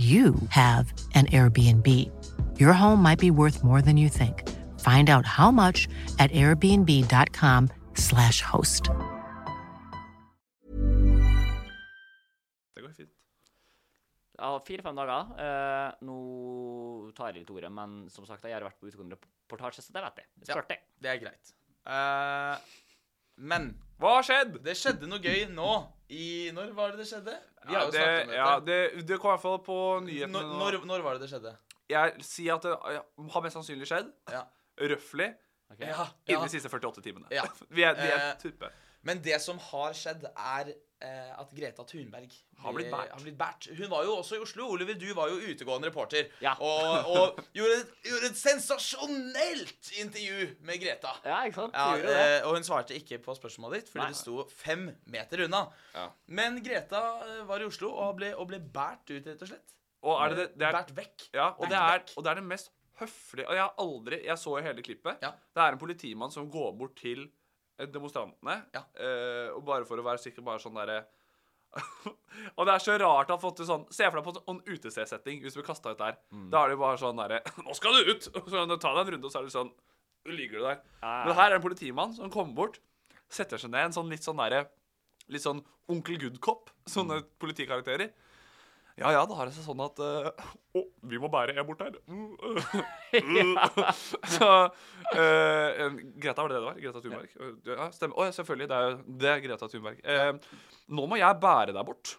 F: you have an Airbnb. Your home might be worth more than you think. Find out how much at airbnb.com/slash host.
B: Det går fint.
E: Ja, fire-fem dager. Eh, nå tar jeg litt ordet, men som sagt, jeg har vært på utegående reportasje, så det vet jeg. Det spurte jeg.
A: Det er greit. Eh, men
B: Hva har skjedd?
A: det skjedde noe gøy nå. I Når var det det skjedde? Vi
B: Ja,
A: har jo
B: det,
A: snakket om dette.
B: ja, det, det kom i hvert fall på nyhetene
A: når,
B: nå.
A: når, når var det det skjedde?
B: Jeg sier at det ja, har mest sannsynlig skjedd.
A: Ja.
B: Røffelig.
A: Ja, ja.
B: Innen de siste 48 timene.
A: Ja.
B: [laughs] Vi er, vi er
A: Eh,
B: tuppe.
A: Men det som har skjedd, er eh, at Greta Thunberg
B: Har blitt
A: blir-
B: bært.
A: har blitt bært. Hun var jo også i Oslo. Oliver, du var jo utegående reporter.
E: Ja.
A: Og,
B: [laughs]
A: og gjorde, et- gjorde et sensasjonelt intervju med Greta.
E: Ja, ikke sant?
A: Ja,
E: Gjorde jo det.
A: eh, og hun svarte ikke på spørsmålet ditt, fordi
E: Nei.
A: det sto fem meter unna. Men Greta eh, var i Oslo og ble, og ble båret ut, rett og slett.
B: Og er det, det, det er,
A: Båret vekk.
B: Ja, og
A: Båret
B: det er,
A: vekk.
B: og det er det mest høflige Og jeg har aldri Jeg så jo hele klippet.
A: Ja.
B: Det er en politimann som går bort til eh, demonstrantene,
A: Ja.
B: eh, og bare for å være sikker, bare sånn derre [laughs] og det er så rart å ha fått det sånn Se for deg på en sånn utestedsetting hvis du blir kasta ut der.
A: Mm.
B: Da er det jo bare sånn derre [laughs] Nå skal du ut! Og så ta deg en runde, og så er det sånn Så ligger du der. Men her er det en politimann som kommer bort, setter seg ned en sånn litt sånn derre Litt sånn Onkel Good-kopp. Sånne politikarakterer. Ja ja, det har det seg sånn at eh, Å, vi må bære en bort [laughs] her. Mm, øh, så eh, en- Greta, var det det det var? Greta Thunberg? Ja, stemmer. Å ja, selvfølgelig. Det er jo det er Greta Thunberg. Eh, nå må jeg bære deg bort.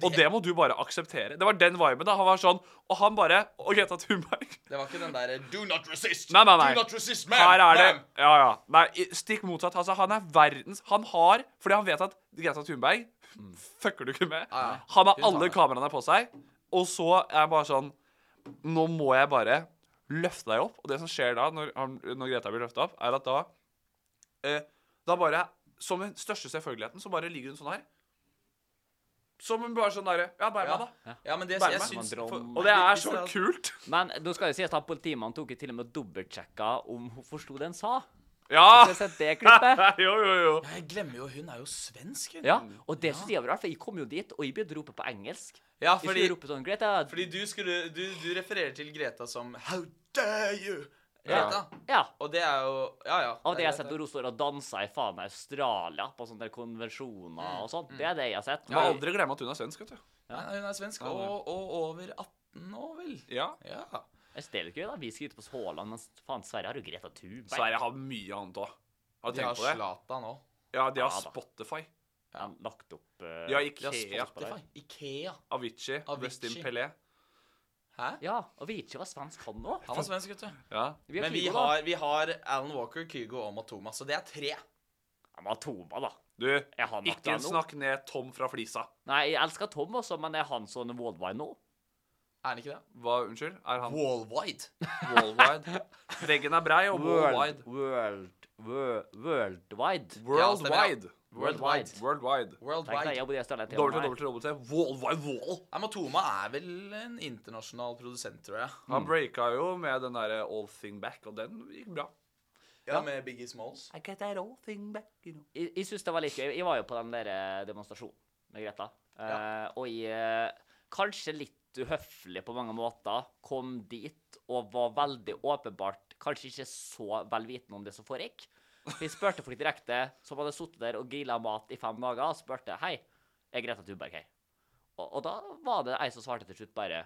B: Og det må du bare akseptere. Det var den viben. da Han var sånn Og han bare Og Greta Thunberg.
A: Det var ikke den derre 'do not resist'.
B: Nei, nei, nei.
A: Do not resist, ma'am.
B: Her er det
A: ma'am.
B: Ja, ja. Nei, i- stikk motsatt. Altså, han er verdens Han har Fordi han vet at Greta Thunberg fucker du ikke med.
A: ja.
B: Han har
A: Hun tar
B: alle
A: det.
B: kameraene på seg, og så er han bare sånn Nå må jeg bare løfte deg opp. Og det som skjer da, når, han, når Greta blir løfta opp, er at da eh, Da bare Som den største selvfølgeligheten, så bare ligger hun sånn her. Som hun bare sånn derre Ja, bær meg, da.
A: Ja. ja, men det
B: Bær
A: jeg
B: meg.
A: syns
E: Drøm.
A: for-
B: Og det er
A: hvis
B: så
A: jeg-
B: kult.
E: Men nå skal det sies at politimannen tok jo til og med og dobbeltsjekka om hun forsto det han sa.
B: Ja!
E: Skal vi se det klippet?
B: [laughs] Jo, jo, jo.
A: Jeg glemmer jo, hun er jo svensk, hun.
E: Ja, og det synes jeg var rart, for jeg kom jo dit, og jeg begynte å rope på engelsk.
A: Ja,
E: Jeg skulle
A: fordi,
E: rope sånn, Greta,
A: fordi du, skulle, du, du refererer til Greta som 'How dare you'? Greta.
E: ja.
A: Og det er jo Ja, ja.
E: Av det jeg har
A: Greta.
E: sett når hun står og danser i faen meg Australia på sånne der konvensjoner
B: Mm.
E: og sånn, det er det jeg har sett.
B: Må aldri glemme at hun er svensk, vet du.
A: Nei, hun er svensk, og, og over 18 nå, vel?
B: Ja.
A: Ja.
E: Jeg synes det er litt gøy da, vi skryter på oss Haaland, mens faen Sverige har jo Greta Thunberg.
B: Sverige har mye annet òg. Har du
A: De har
B: tenkt på det?
A: Zlatan òg.
B: Ja, de har
E: Ja da.
B: Spotify.
E: har lagt opp eh,
B: De har
A: De har
B: Ikea.
A: Spotify. Ikea.
B: Avicii. Westin
A: Avicii.
B: Pelé.
A: Hæ? Hæ?
C: Ja, og Vici var svensk, han òg.
A: Han var svensk, vet du.
B: Ja.
C: Vi har
A: Men vi
C: Kygo, da.
A: har, vi har Alan Walker, Kygo og Matoma, så det er tre.
C: Ja, men Toma, da.
B: Du,
C: Jeg har nok
B: ikke
C: det nå.
B: snakk ned Tom fra Flisa.
C: Nei, jeg elsker Tom også, men er han sånn worldwide nå?
A: Er han ikke det?
B: Hva, unnskyld? Er han
A: Wallwide. [laughs]
B: wallwide? Veggen er brei og wallwide.
C: world, world, worldwide.
B: Worldwide.
C: Worldwide. Tenk
B: Worldwide.
C: deg,
A: Worldwide.
C: jeg bodde i Australia til
B: Dobbelt
C: meg.
B: til dobbelt til dobbelt til. Worldwide wall.
A: Nei, Matoma er vel en internasjonal produsent, tror jeg. Mm.
B: Han breaka jo med den derre All Thing Back, og den gikk bra.
A: Ja, med Biggie Smalls.
C: Jeg, jeg synes det var litt gøy. Jeg var jo på den der eh, demonstrasjonen med Greta. Eh, og jeg, eh, kanskje litt uhøflig på mange måter, kom dit og var veldig åpenbart kanskje ikke så velvitende om det som foregikk. For jeg spurte folk direkte, som hadde sittet der og grilla mat i fem dager, og spurte hei, er Greta Thunberg her? Og, og da var det ei som svarte til slutt bare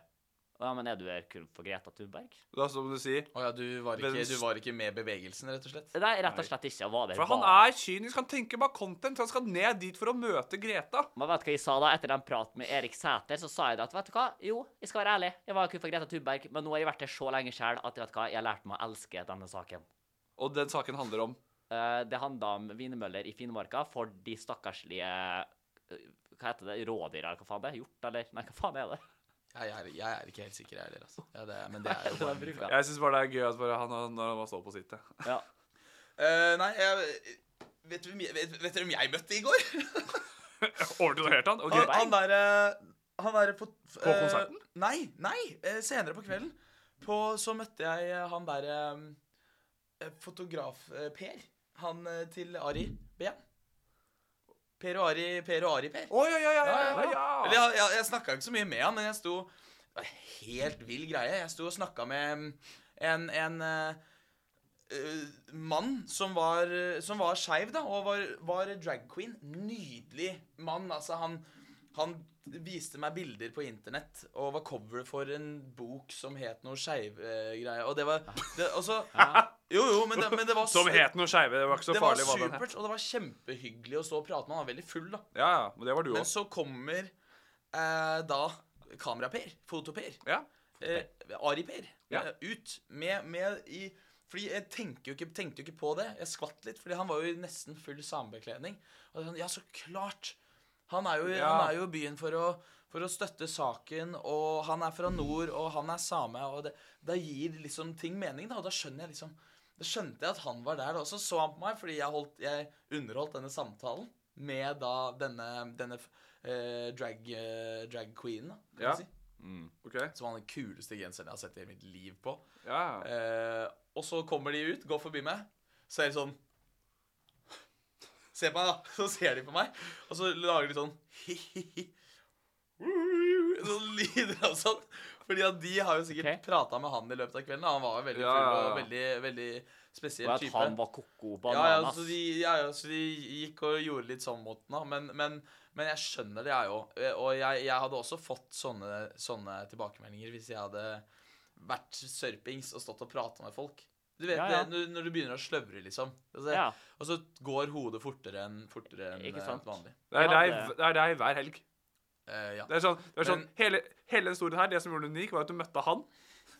C: ja, men er du her kun for Greta Thunberg?
B: Da som du sier.
A: Å ja, du var,
B: Men-
A: ikke, du var ikke med bevegelsen, rett og slett?
C: Nei, rett og slett ikke. Var der
B: For han
C: bare-
B: er kynisk. Han tenker bare content. Han skal ned dit for å møte Greta.
C: Men vet du hva jeg sa da, etter den praten med Erik Sæter, så sa jeg da at vet du hva, jo, jeg skal være ærlig, jeg var kun for Greta Thunberg, men nå har jeg vært her så lenge sjøl at vet du hva, jeg har lært meg å elske denne saken.
B: Og den saken handler om
C: Eh, det handla om wienermøller i Finnmarka for de stakkarslige eh, Hva heter det, rådyra, hva faen det er? Hjort, eller? Nei, hva faen er det?
A: Jeg er, jeg er ikke helt sikker, jeg heller. Altså. Ja, det er, men [laughs]
C: [laughs]
A: det er jo bare
C: bruker
B: Jeg syns bare det er gøy at bare han, han, når han bare står på sitt. ja. [laughs]
C: Ja.
A: Eh, Nei, jeg, vet, du, hvem jeg- vet, vet dere hvem jeg møtte i går? [laughs]
B: Overtroderte han?
A: Han,
B: Ok.
A: han derre Han derre på eh,
B: På konserten?
A: Nei, nei. eh, senere på kvelden på, så møtte jeg eh, han derre eh, fotograf eh, Per. Han eh, til Ari Behn. Per og Ari Per og Ari Per.
B: Å, ja, ja, ja, ja, ja,
A: Eller,
B: ja.
A: jeg jeg, jeg snakka ikke så mye med han, men jeg sto Det var en helt vill greie. Jeg sto og snakka med mm, en, en eh, eh, mann som var, som var skeiv, da, og var, var drag queen. Nydelig mann. Altså, han, han viste meg bilder på internett og var cover for en bok som het noe skeivgreie. Og det var det, og så- Jo, jo, men det, men det var
B: Som
A: su-
B: het noe skeive. Det var ikke så
A: det var
B: farlig. Var det.
A: supert, og det var kjempehyggelig å stå og prate med han. Han var veldig full, da.
B: Ja, ja. Men det var du
A: Men
B: òg.
A: så kommer eh, da kamera-Per, foto-Per,
B: Ja.
A: eh, Ari-Per,
B: Ja.
A: eh, ut med, med i fordi Jeg tenker jo ikke, tenkte jo ikke på det. Jeg skvatt litt, fordi han var jo i nesten full samebekledning. Og sånn, ja, så klart! Han er jo,
B: Ja.
A: han er jo i byen for å, for å støtte saken, og han er fra nord, og han er same, og det, da gir liksom ting mening, da. Og da skjønner jeg liksom Da skjønte jeg at han var der, da. Og så så han på meg, fordi jeg, holdt, jeg underholdt denne samtalen med da denne, denne eh, drag, eh, drag queen, da, kan
B: Ja.
A: man
B: Mm,
A: si.
B: Ok. Ja,
A: Som var den kuleste genseren jeg har sett i mitt liv på.
B: ja.
A: Eh, og så kommer de ut, går forbi meg, så er de sånn Se på meg, da. [laughs] Så ser de på meg, og så lager de sånn Sånn lyder og sånn. Fordi at de har jo sikkert
C: Ok.
A: pratet prata med han i løpet av kvelden. da. Han var jo veldig
B: Ja,
A: full
B: ja,
A: og
B: ja.
A: veldig, veldig
C: Og
A: spesiell
C: at
A: type.
C: han var koko
A: Ja, ja,
C: bananas.
A: så de, ja, ja, så de gikk og gjorde litt sånn mot den, da. Men, men, men jeg skjønner det, jeg òg. Og jeg, jeg hadde også fått sånne, sånne tilbakemeldinger hvis jeg hadde vært sørpings og stått og prata med folk. Du vet
C: Ja, ja.
A: det når, når du begynner å sløvre, liksom. Altså,
C: Ja.
A: Og så går hodet fortere enn fortere enn
C: Ikke
A: eh,
C: sant.
A: vanlig.
B: Det er
C: Ja,
B: deg,
C: det-
B: det er deg hver helg.
A: Eh, ja.
B: Det er sånn, det er sånn
A: Men-
B: hele, hele den historien her, det som gjorde den unik, var at du møtte han.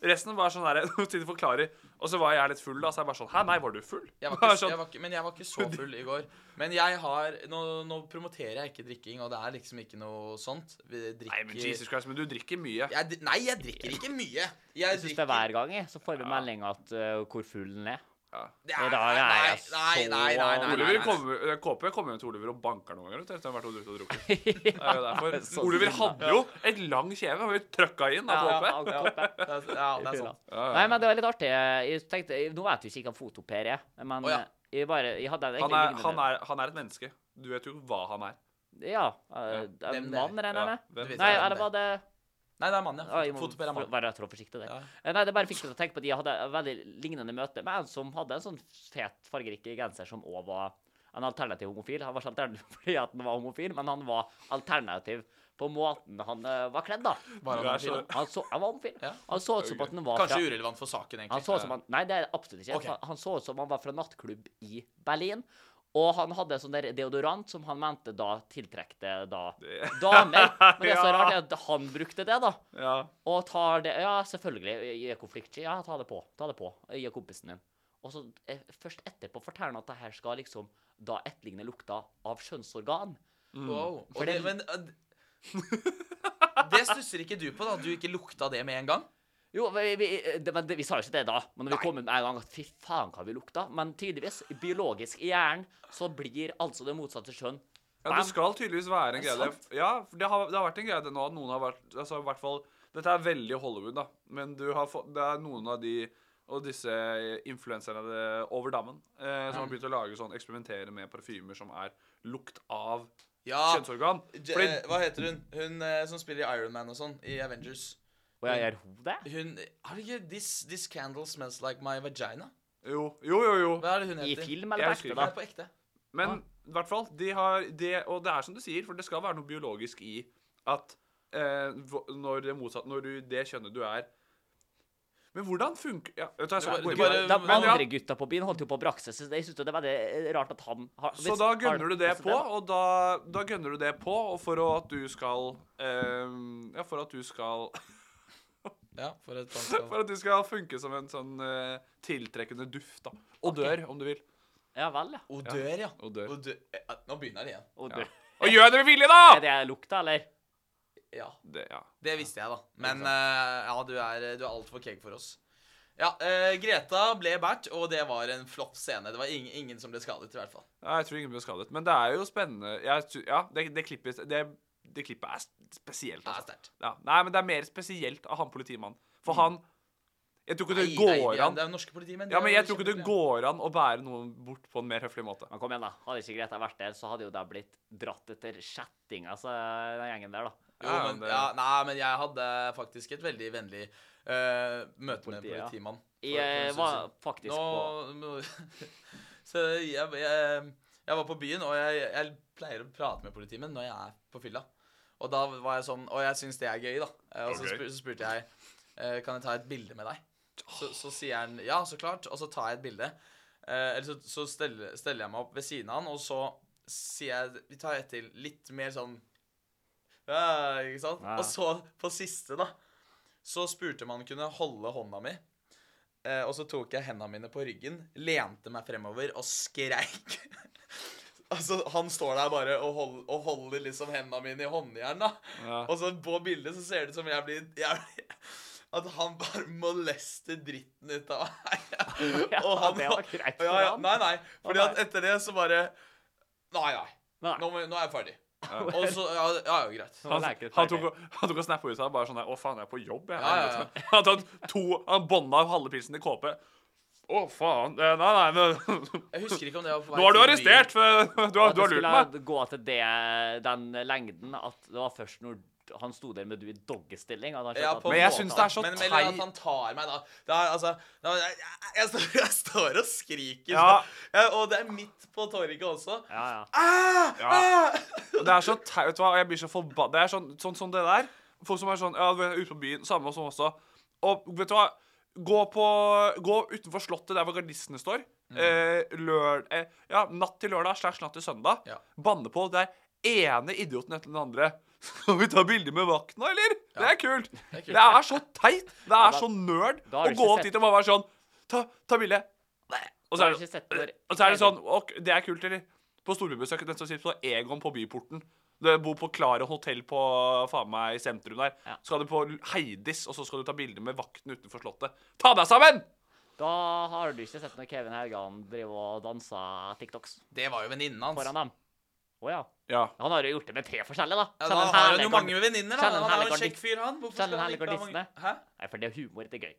B: Resten var sånn [laughs] her, noen tider forklarer, og så var jeg litt full da, så jeg bare sånn, hæ, nei, var du full?
A: Jeg var
B: [laughs] Bare
A: ikke,
B: sånn,
A: jeg var ikke, men jeg var ikke så full i går. Men jeg har Nå, nå promoterer jeg ikke drikking, og det er liksom ikke noe sånt. Vi drikker
B: nei, men Jesus Christ, men du drikker mye.
A: jeg, dri- Nei, jeg drikker ikke mye.
C: Jeg syns det er hver gang, jeg. Så får vi melding at eh, hvor full den er.
A: Nei,
C: I dag er
A: nei,
C: jeg
A: nei,
C: så-
A: nei, nei, nei, nei,
B: Oliver
A: nei.
B: kommer, eh, KP kommer hjem til Oliver og banker noen ganger, vet du, etter han har vært og drukket og [laughs] drukket. Det er jo derfor.
C: Sånn
B: Oliver
C: som
B: hadde jo et lang kjeve, han ble trøkka inn av
C: Ja,
B: KP.
C: ja, ja, ja.
A: Det er- Ja, det er sant.
C: Nei, men det var litt artig. Jeg tenkte, nå vet vi ikke hva fotoper er, men eh,
A: Å, ja.
C: jeg bare jeg hadde
B: Han er, han, er, han er et menneske. Du vet jo hva han er.
C: Ja. eh, En
A: Hvem det er.
C: mann, regner jeg
B: Ja,
C: med?
B: hvem-
A: Du vet
C: Nei,
A: hvem
C: eller
A: det er.
C: var det
A: Nei, det er mann,
C: Ja,
A: ja.
C: jeg må
A: Fotopell er mann.
C: være trå forsiktig der.
A: Ja.
C: Eh, Nei, det bare fikk meg til å tenke på at jeg hadde et veldig lignende møte med en som hadde en sånn fet, fargerik genser som òg var en alternativ homofil. Han var ikke alternativ [laughs] fordi at han var homofil, men han var alternativ på måten han eh, var kledd, da.
A: Var han
B: Du er så-
A: homofil?
C: Han, så, han var homofil.
A: Ja.
C: Han så ut som at han var fra
A: Kanskje urelevant for saken,
C: Han
A: egentlig.
C: så ut som han Nei, det er det absolutt ikke.
A: Ok.
C: Han- Han så ut som han var fra nattklubb i Berlin. Og han hadde sånn der deodorant som han mente da tiltrekte da damer. Men det
B: [laughs]
C: som er rart, er at han brukte det, da. Og tar det Ja, selvfølgelig. I en konfliktsky. Ja, ta det på. Ta det på. Gi kompisen din. Og så eh, først etterpå forteller han at det her skal liksom da etterligne lukta av kjønnsorgan.
A: Mm. Wow.
C: For
A: Og det,
C: det-
A: men
C: [laughs]
A: eh, Det stusser ikke du på, da? at Du ikke lukta det med en gang?
C: Jo, vi, vi, det, men det, vi sa jo ikke det da. Men når vi kom ut med en gang at fy faen hva vi lukta. Men tydeligvis, biologisk i hjernen, så blir altså det motsatte kjønn.
B: Ja,
C: Bam.
B: det skal tydeligvis være
C: Er
B: en
C: det
B: greie. Det- Ja, for det har, det har vært en greie det nå at noen har vært altså, i hvert fall, Dette er veldig Hollywood, da. Men du har fått, det er noen av de og disse influenserne det- over dammen eh,
C: Mm.
B: som har begynt å lage sånn, eksperimentere med parfymer som er lukt av
A: Ja.
B: kjønnsorgan.
A: Je- eh,
B: Fordi,
A: Hva heter hun? Hun eh, som spiller i Iron Man og sånn, i Avengers.
C: Og jeg gjør hun det?
A: Hun Har ikke this, 'This candle smells like my vagina'?
B: jo, jo, jo, jo.
A: Hva er det hun
C: I
A: heter?
C: film eller
B: Jeg
C: på
B: husker
C: ekte,
A: Nei,
C: da?
A: på ekte.
B: Men i hvert fall, de har det, og det er som du sier, for det skal være noe biologisk i at eh, hvo- når det motsatt, når du det kjønnet du er Men hvordan funker ja, vet du, hva, jeg skal
A: Du
B: gå inn på
A: bare-
B: det.
C: De
A: Men ja.
C: andre gutta på byen holdt jo på å brakse, så jeg synes jo det er veldig rart at han har
B: Så
C: hvis-
B: da
C: har-
B: gønner du det
C: altså,
B: på, og da, da gønner du det på og for å- at du skal eh, Ja, for at du skal [laughs]
A: Ja, for [laughs] et
B: For
A: dansk
B: at du skal funke som en sånn eh, tiltrekkende duft, da. Og dør, om du vil.
C: Ja vel, ja.
A: Odør, ja.
B: Odør.
A: Odør- eh, Nå begynner det igjen.
C: Og du.
B: Og gjør det med vilje,
C: Er
B: da!
C: det lukta, eller?
A: Ja.
B: Det, ja.
A: Det visste jeg, da. Men eh, ja, du er, du er altfor keeg for oss. Ja, eh, Greta ble båret, og det var en flott scene. Det var ingen, ingen som ble skadet, i hvert fall.
B: Ja, jeg tror ingen ble skadet. Men det er jo spennende. Jeg, sy- ja, det, det, klippet, det, det klippet er s- spesielt.
A: Det er
B: Altså.
A: sterkt.
B: Ja. Nei, men det er mer spesielt av han politimannen.
C: Mm.
B: For han Jeg tror ikke det
A: Nei, nei,
B: går
A: det er-
B: an
A: Det er jo norske politimenn. de
B: Ja, men
A: er
B: jeg
A: jo
B: tror ikke det
A: kjempebra.
B: går an å bære noen bort på en mer høflig måte.
C: Men kom igjen, da. Hadde ikke Greta vært der, så hadde jo de blitt dratt etter chatting, altså, den gjengen der, da.
A: Jo,
B: Ja,
A: men,
B: men det-
A: ja, nei, men jeg hadde faktisk et veldig vennlig eh, møte med
C: Politi, ja.
A: politimannen. for- for en
C: Jeg
A: stund
C: var
A: siden.
C: faktisk på
A: sånn. Nå [laughs] Så jeg, jeg, jeg var på byen, og jeg, jeg pleier å prate med politimenn når jeg er på fylla. Og da var jeg sånn Og jeg syns det er gøy, da. Eh, Og så,
B: Ok.
A: spur, så spurte jeg eh, Kan jeg ta et bilde med deg. Så, så sier han ja, så klart, og så tar jeg et bilde. Eh, Eller så, så steller, steller jeg meg opp ved siden av han, og så sier jeg Vi tar et til. Litt mer sånn ja, Ikke sant?
C: Ja.
A: Og så, på siste, da, så spurte man kunne holde hånda mi. Eh, og så tok jeg hendene mine på ryggen, lente meg fremover og skreik. [laughs] altså, han står der bare og, hold, og holder liksom hendene mine i håndjern, da. Og så på bildet så ser det ut som jeg blir, jeg blir [laughs] At han bare molester dritten ut av meg. [laughs]
C: Ja,
A: og han
C: det var greit for
A: ja, ja,
C: han.
A: Nei, nei. Fordi
C: Å,
A: at
C: nei.
A: etter det så bare Nei, nei.
C: Nei.
A: Nå, må, nå er jeg ferdig. Og så Ja, ja, ja greit.
C: Det var
B: Han,
C: lekkert,
B: han,
C: ferdig.
B: tok, og- han tok og snappa ut av bare sånn der, Å, faen, jeg er på jobb, jeg.
A: Ja, ja, ja.
B: [laughs] Han, tatt to, han bånda halve pilsen i kåpe. Å, faen. eh, Nei, nei, men [laughs]
A: Jeg husker ikke om det var på vei
B: Nå er du
A: til byen.
B: arrestert! For du har,
C: At
B: du
C: det
B: har lurt
C: skulle
B: meg.
C: gå til det, den lengden at det var først når han sto der med du i doggestilling at han skjønte
A: Ja,
C: at-
A: på en
B: Men jeg
A: måte.
B: synes det er så
A: men, men, eller
B: teit-
A: at han tar meg, da. Det er, altså, det er, jeg, jeg, står, [laughs] jeg står og skriker.
B: Ja.
A: sånn. Jeg, og det er midt på torget også.
C: Ja, ja.
A: Ah,
B: Ja.
A: ah! [laughs]
B: Det er så teit, vet du hva, jeg blir så forbanna. Det er sånn, sånn som det der. Folk som er sånn, ja, du er ute på byen, samme som også. Og vet du hva, gå på, gå utenfor slottet der hvor gardistene står.
C: Mm.
B: Eh, lør, eh, ja, natt til lørdag slash natt til søndag.
A: Ja.
B: Banne på der ene idioten etter den andre. [laughs] Skal vi ta bilder med vakten, eller? Det er kult. Det er, så teit. Det er
C: da-
B: så nerd
C: da har
B: å
C: du
B: gå
C: ikke
B: opp
C: sett-
B: dit og bare være sånn, ta, ta bilde. Og
C: Da
B: så
C: har
B: er
C: du ikke
B: det,
C: sett hvor-
B: og så er det sånn ok, Det er kult, eller? På storbybesøk Den som sitter på sånn, Egon på Byporten. Du bor på Klaren hotell på faen meg i sentrum der.
C: Ja.
B: Så skal du på Heidis, og så skal du ta bilder med vakten utenfor Slottet. Ta deg sammen!
C: Da har du ikke sett når Kevin Haugan driver og danser TikToks
A: Det var jo venninnen hans.
C: foran dem. Å ja.
B: Ja.
C: Han har jo gjort det med tre forskjellige, da.
A: Ja,
C: Selv
A: da
C: en
A: har
C: herlig
A: han jo
C: gard-
A: mange venninner, da.
C: selv en
A: Han er
C: herlig
A: jo en
C: gardist-
A: kjekk fyr, han. Hvorfor
C: Selv en
A: skal han
C: herlig
A: ikke ha mange
C: gardistene.
A: Hæ?
C: Nei, for det er humor, det er gøy.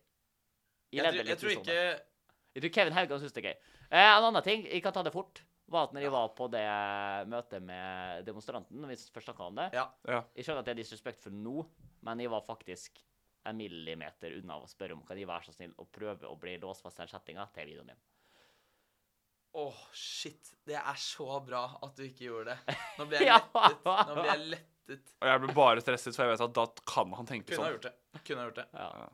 C: I
A: Jeg,
C: levde
A: tror-
C: litt
A: jeg tror
C: usone.
A: ikke
C: Jeg tror Kevin Haugan syns det er gøy. Eh, en annen ting, jeg kan ta det fort, var at når jeg var på det møtet med demonstranten, når vi først snakka om det
A: Ja.
B: ja.
C: Jeg skjønner at det er disrespektfull nå, men jeg var faktisk en millimeter unna å spørre om kan de være så snill å prøve å bli låst fast i den chattinga til videoen din.
A: Åh, shit. Det er så bra at du ikke gjorde det. Nå blir jeg
C: [laughs] Ja.
A: lettet. Nå blir jeg lettet.
B: Og jeg blir bare stresset, for jeg vet at da kan han tenke
A: Kunne ha
B: sånn.
A: gjort det. Kunne ha gjort det.
C: Ja.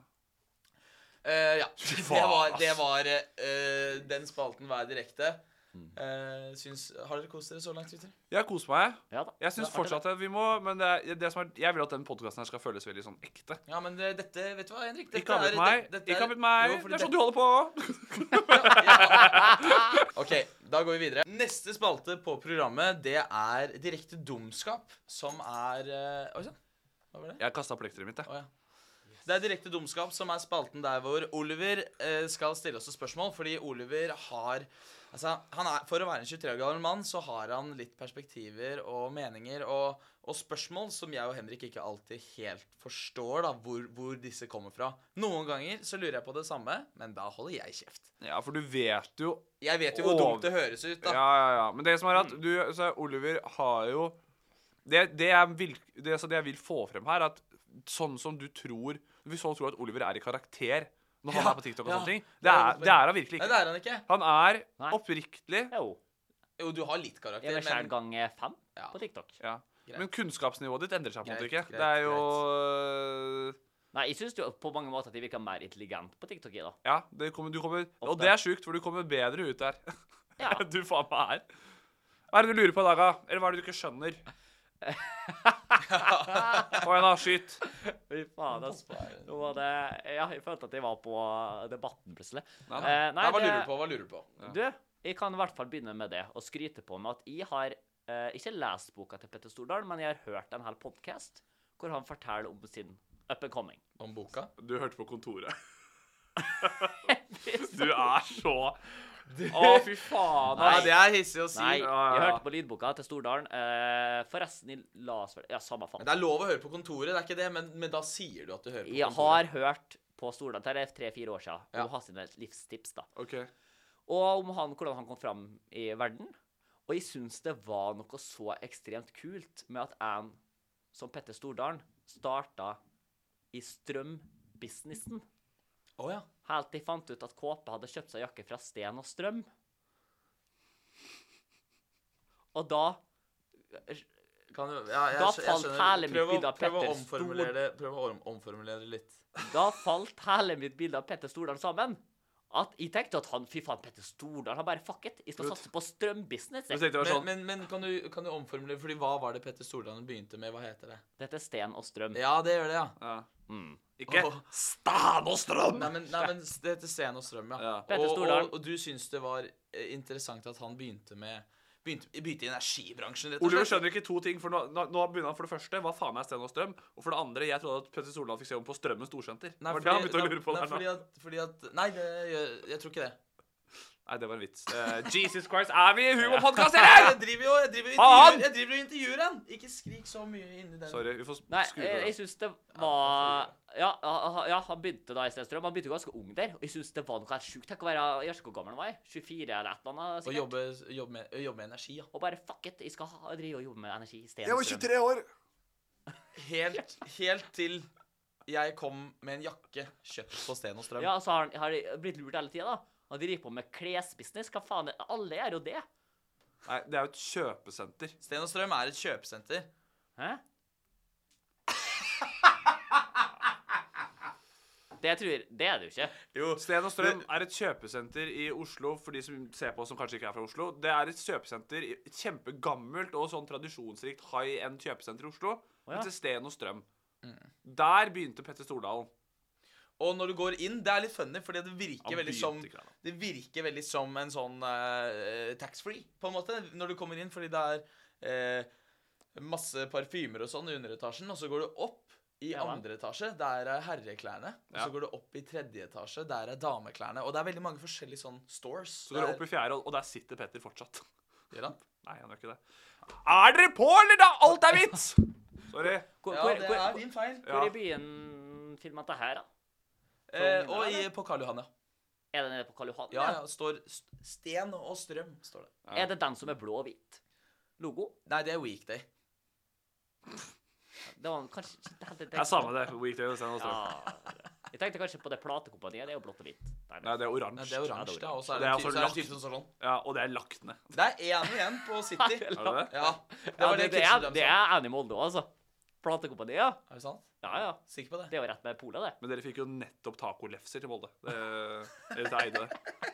A: Eh, ja. Det
B: faen, [laughs]
A: var,
B: ass.
A: det var eh, eh, den spalten Vær direkte.
B: Mm.
A: Eh, syns, har dere kost dere så langt, gutter?
B: Jeg koser meg.
C: Ja da.
B: Jeg
A: Det er
B: syns
A: artig,
B: fortsatt at vi må Men det er, det som er, jeg vil at den podkasten her skal føles veldig sånn ekte.
A: Ja, men eh, dette Vet du hva, Henrik? Dette
B: Ikke avbryt
A: er-
B: meg.
A: det- dette
B: Ikke
A: er-
B: avbryt meg.
A: Jo, fordi
B: Det er sånn
A: [laughs] dette-
B: du holder på. [laughs]
A: OK, da går vi videre. Neste spalte på programmet, det er direkte dumskap, som er eh, Oi sann, hva var det?
B: Jeg kasta plekteret mitt, jeg.
A: Å, ja. Det er direkte dumskap som er spalten der hvor Oliver eh, skal stille oss et spørsmål. Fordi Oliver har Altså, han er, For å være en 23 år gammel mann så har han litt perspektiver og meninger og, og spørsmål som jeg og Henrik ikke alltid helt forstår da, hvor, hvor disse kommer fra. Noen ganger så lurer jeg på det samme, men da holder jeg kjeft.
B: Ja, for du vet jo
A: Jeg vet jo hvor
B: Åh.
A: dumt det høres ut,
B: Ja,
A: da. Mm.
B: ja, ja. Men det som er at du, så er Oliver har jo det, det, jeg vil, det, så det jeg vil få frem her, er at sånn som du tror Hvis folk tror at Oliver er i karakter når han
A: Ja,
B: er på TikTok og
A: ja.
B: sånne ting,
A: Det
B: det
A: er
B: er, det er han virkelig
A: Nei,
B: ikke.
A: det er han ikke.
B: Han er
C: Nei.
B: oppriktig
C: Jo.
A: Jo, du har litt karakter,
C: Jeg er vel sjæl
A: men
C: gang eh, fem
A: Ja.
C: på TikTok.
B: ja.
A: Greit.
B: Men kunnskapsnivået ditt endrer seg på en måte ikke.
A: Greit, greit,
B: Det er jo øh,
C: Nei, jeg syns jo på mange måter at jeg virker mer intelligent på TikTok, jeg, da.
B: Ja, det kommer, du kommer Og
C: Ofte.
B: det er sjukt, for du kommer bedre ut der.
C: Ja.
B: [laughs] du faen meg er. Hva er det du lurer på i dag, da? Eller hva er det du
C: [laughs]
B: ikke skjønner? Kom igjen, da. Skyt.
C: Fy faen, ass. Nå var det Ja, jeg følte at jeg var på Debatten, plutselig.
B: Nei,
C: Eh,
B: nei.
C: nei,
A: ja, Hva
C: det-
A: lurer du på? Hva lurer du på?
C: Du, jeg kan i hvert fall begynne med det, og skryte på med at jeg har eh, ikke lest boka til Petter Stordal, men jeg har hørt en hel podkast hvor han forteller om sin up and coming.
A: Om boka?
B: Du hørte på
C: [laughs]
B: Kontoret. Du er så Å, fy faen.
A: Nei,
C: Nei.
A: det er hissig å si.
C: Nei,
B: ja,
C: jeg
B: ja.
C: hørte på lydboka til Stordalen. eh, forresten, jeg las vel Ja, samme faen.
A: Men Det er lov å høre på kontoret, det er ikke det, men, men da sier du at du hører på
C: Jeg har
A: kontoret.
C: hørt på Stordalen det er tre-fire år siden,
A: Ja.
C: om hans sine livstips, da.
B: OK.
C: Og om han, hvordan han kom fram i verden. Og jeg syns det var noe så ekstremt kult med at en som Petter Stordalen starta i strømbusinessen.
A: Å ja.
C: Helt til jeg fant ut at Kåpe hadde kjøpt seg jakke fra Sten og Strøm. Og da
A: Kan du, ja, jeg,
C: Da
A: skj- jeg
C: falt
A: skjønner.
C: hælen min
A: prøv, å,
C: ut av
A: prøv, å
C: Petter
A: omformulere,
C: Stord.
A: det- prøv å om- omformulere det litt.
C: Da falt hele mitt bilde av Petter Stordalen sammen. At jeg tenkte at han, fy faen, Petter Stordalen har bare fuck it. Jeg skal satse på strømbusiness.
B: Du
C: jeg.
B: tenkte det var
A: Men, men,
B: sånn
A: men kan, du, kan du omformulere Fordi hva var det Petter Stordalen begynte med? Hva heter det?
C: Dette er Sten og Strøm.
A: Ja, det gjør det, ja.
B: ja. Ikke
A: Åh.
B: Stan og Strøm!
A: Nei, men, nei, men det heter Sten og Strøm, ja.
B: Ja.
C: Petter
A: Og,
C: Stordalen.
A: og, og du syns det var eh, interessant at han begynte med Begynte, begynte i energibransjen, rett og
B: Oliver
A: slett?
B: skjønner ikke to ting. For nå, nå nå begynner han for det første Hva faen er Sten og Strøm? Og for det andre, jeg trodde at Petter Stordalen fikk se om på Strømmen storsenter. Nei, det var det han begynte å lure på
A: nei,
B: der nå.
A: fordi at, fordi at Nei, det, jeg, jeg tror ikke det.
B: Nei, det var en vits. Eh, Jesus Christ, er vi i
A: [laughs]
B: humorpodkast,
A: Nei,
B: eller?!
A: jeg driver jo jeg driver, og
B: Faen!
A: intervjuer- jeg driver og intervjuer han! Ikke skrik så mye inni den.
B: Sorry, vi får
C: Nei,
B: skru
C: jeg, jeg
B: det.
C: syns det var ja, ha- ja, han begynte da i Sten Strøm. Han begynte jo ganske ung der. Og jeg syns det var noe helt sjukt. Tenk å være Jeg vet ikke hvor gammel han var. jeg. 24 eller et eller annet.
A: Og
C: sikkert.
A: jobbe, jobbe, med, jobbe med energi, ja.
C: Og bare fuck it, jeg skal ha, drive og jobbe med energi i stedet.
B: år.
A: Helt, helt til jeg kom med en jakke kjøpt på Sten og Strøm.
C: Ja, så har han har jeg blitt lurt hele tida, da. Han driver på med klesbusiness. Hva faen? er- Alle gjør jo det.
B: Nei, det er jo et kjøpesenter.
A: Sten og Strøm er et kjøpesenter.
C: Hæ? Det tror jeg Det er det jo ikke.
B: Sten og Strøm er et kjøpesenter i Oslo for de som ser på oss som kanskje ikke er fra Oslo. Det er et kjøpesenter, i- et kjempegammelt og sånn tradisjonsrikt high end kjøpesenter i Oslo.
C: ja.
B: Men til Sten og Strøm.
A: Mm.
B: Der begynte Petter Stordalen.
A: Og når du går inn, det er litt funny, fordi det virker,
B: Han
A: veldig
B: begynte
A: som,
B: ikke der, da.
A: det virker veldig som en sånn eh, tax-free, på en måte, når du kommer inn, fordi det er eh, masse parfymer og sånn i underetasjen, og så går du opp i
C: Ja, hva?
A: andre etasje, der er herreklærne, og
B: Ja.
A: så går du opp i tredje etasje, der er dameklærne, og det er veldig mange forskjellige sånn stores.
B: Så går det opp i fjerde, og og der sitter Petter fortsatt. [laughs]
A: Gjør han?
B: Nei, han gjør ikke det. Er dere på, eller da? Alt er hvitt!
A: [laughs]
B: Sorry.
C: Hvor,
A: Ja,
C: hvor,
A: det
C: hvor,
A: er
C: hvor,
A: din feil.
C: hvor i byen filma dette her, da?
A: Eh, og i, på Karl Johan, ja.
C: Er det nede på Karl Johan?
A: Ja,
C: eller?
A: ja, står st- Sten og Strøm, står det.
C: Er det den som er blå og hvit? Logo?
A: Nei, det er Weekday.
C: Det var kanskje ikke helt det-
B: Det er samme det. Weekday og Sten og Strøm.
C: Ja. Jeg tenkte kanskje på det platekompaniet. Det er jo blått og hvitt. Nei,
B: Nei, det er
A: Nei,
B: oransje.
A: det er oransje, da. Og så er
B: Det
A: det
B: er
A: en type
B: altså
A: så er det en
B: lagt-
A: type som står sånn.
B: Ja, og det er lagt ned.
A: Det er én igjen på City.
C: det er
B: Er det det?
A: Ja, det
C: Ja, det,
A: var det
C: det, er,
A: Kitchen
C: det
A: Drum sa.
C: er Annie Molde også, altså. Platekompaniet, ja.
A: Er det sant?
C: Ja, ja.
A: Sikker på det?
C: Det er jo rett med polet, det.
B: Men dere fikk jo nettopp tacolefser til Molde. Det, dere eide det.
C: [laughs]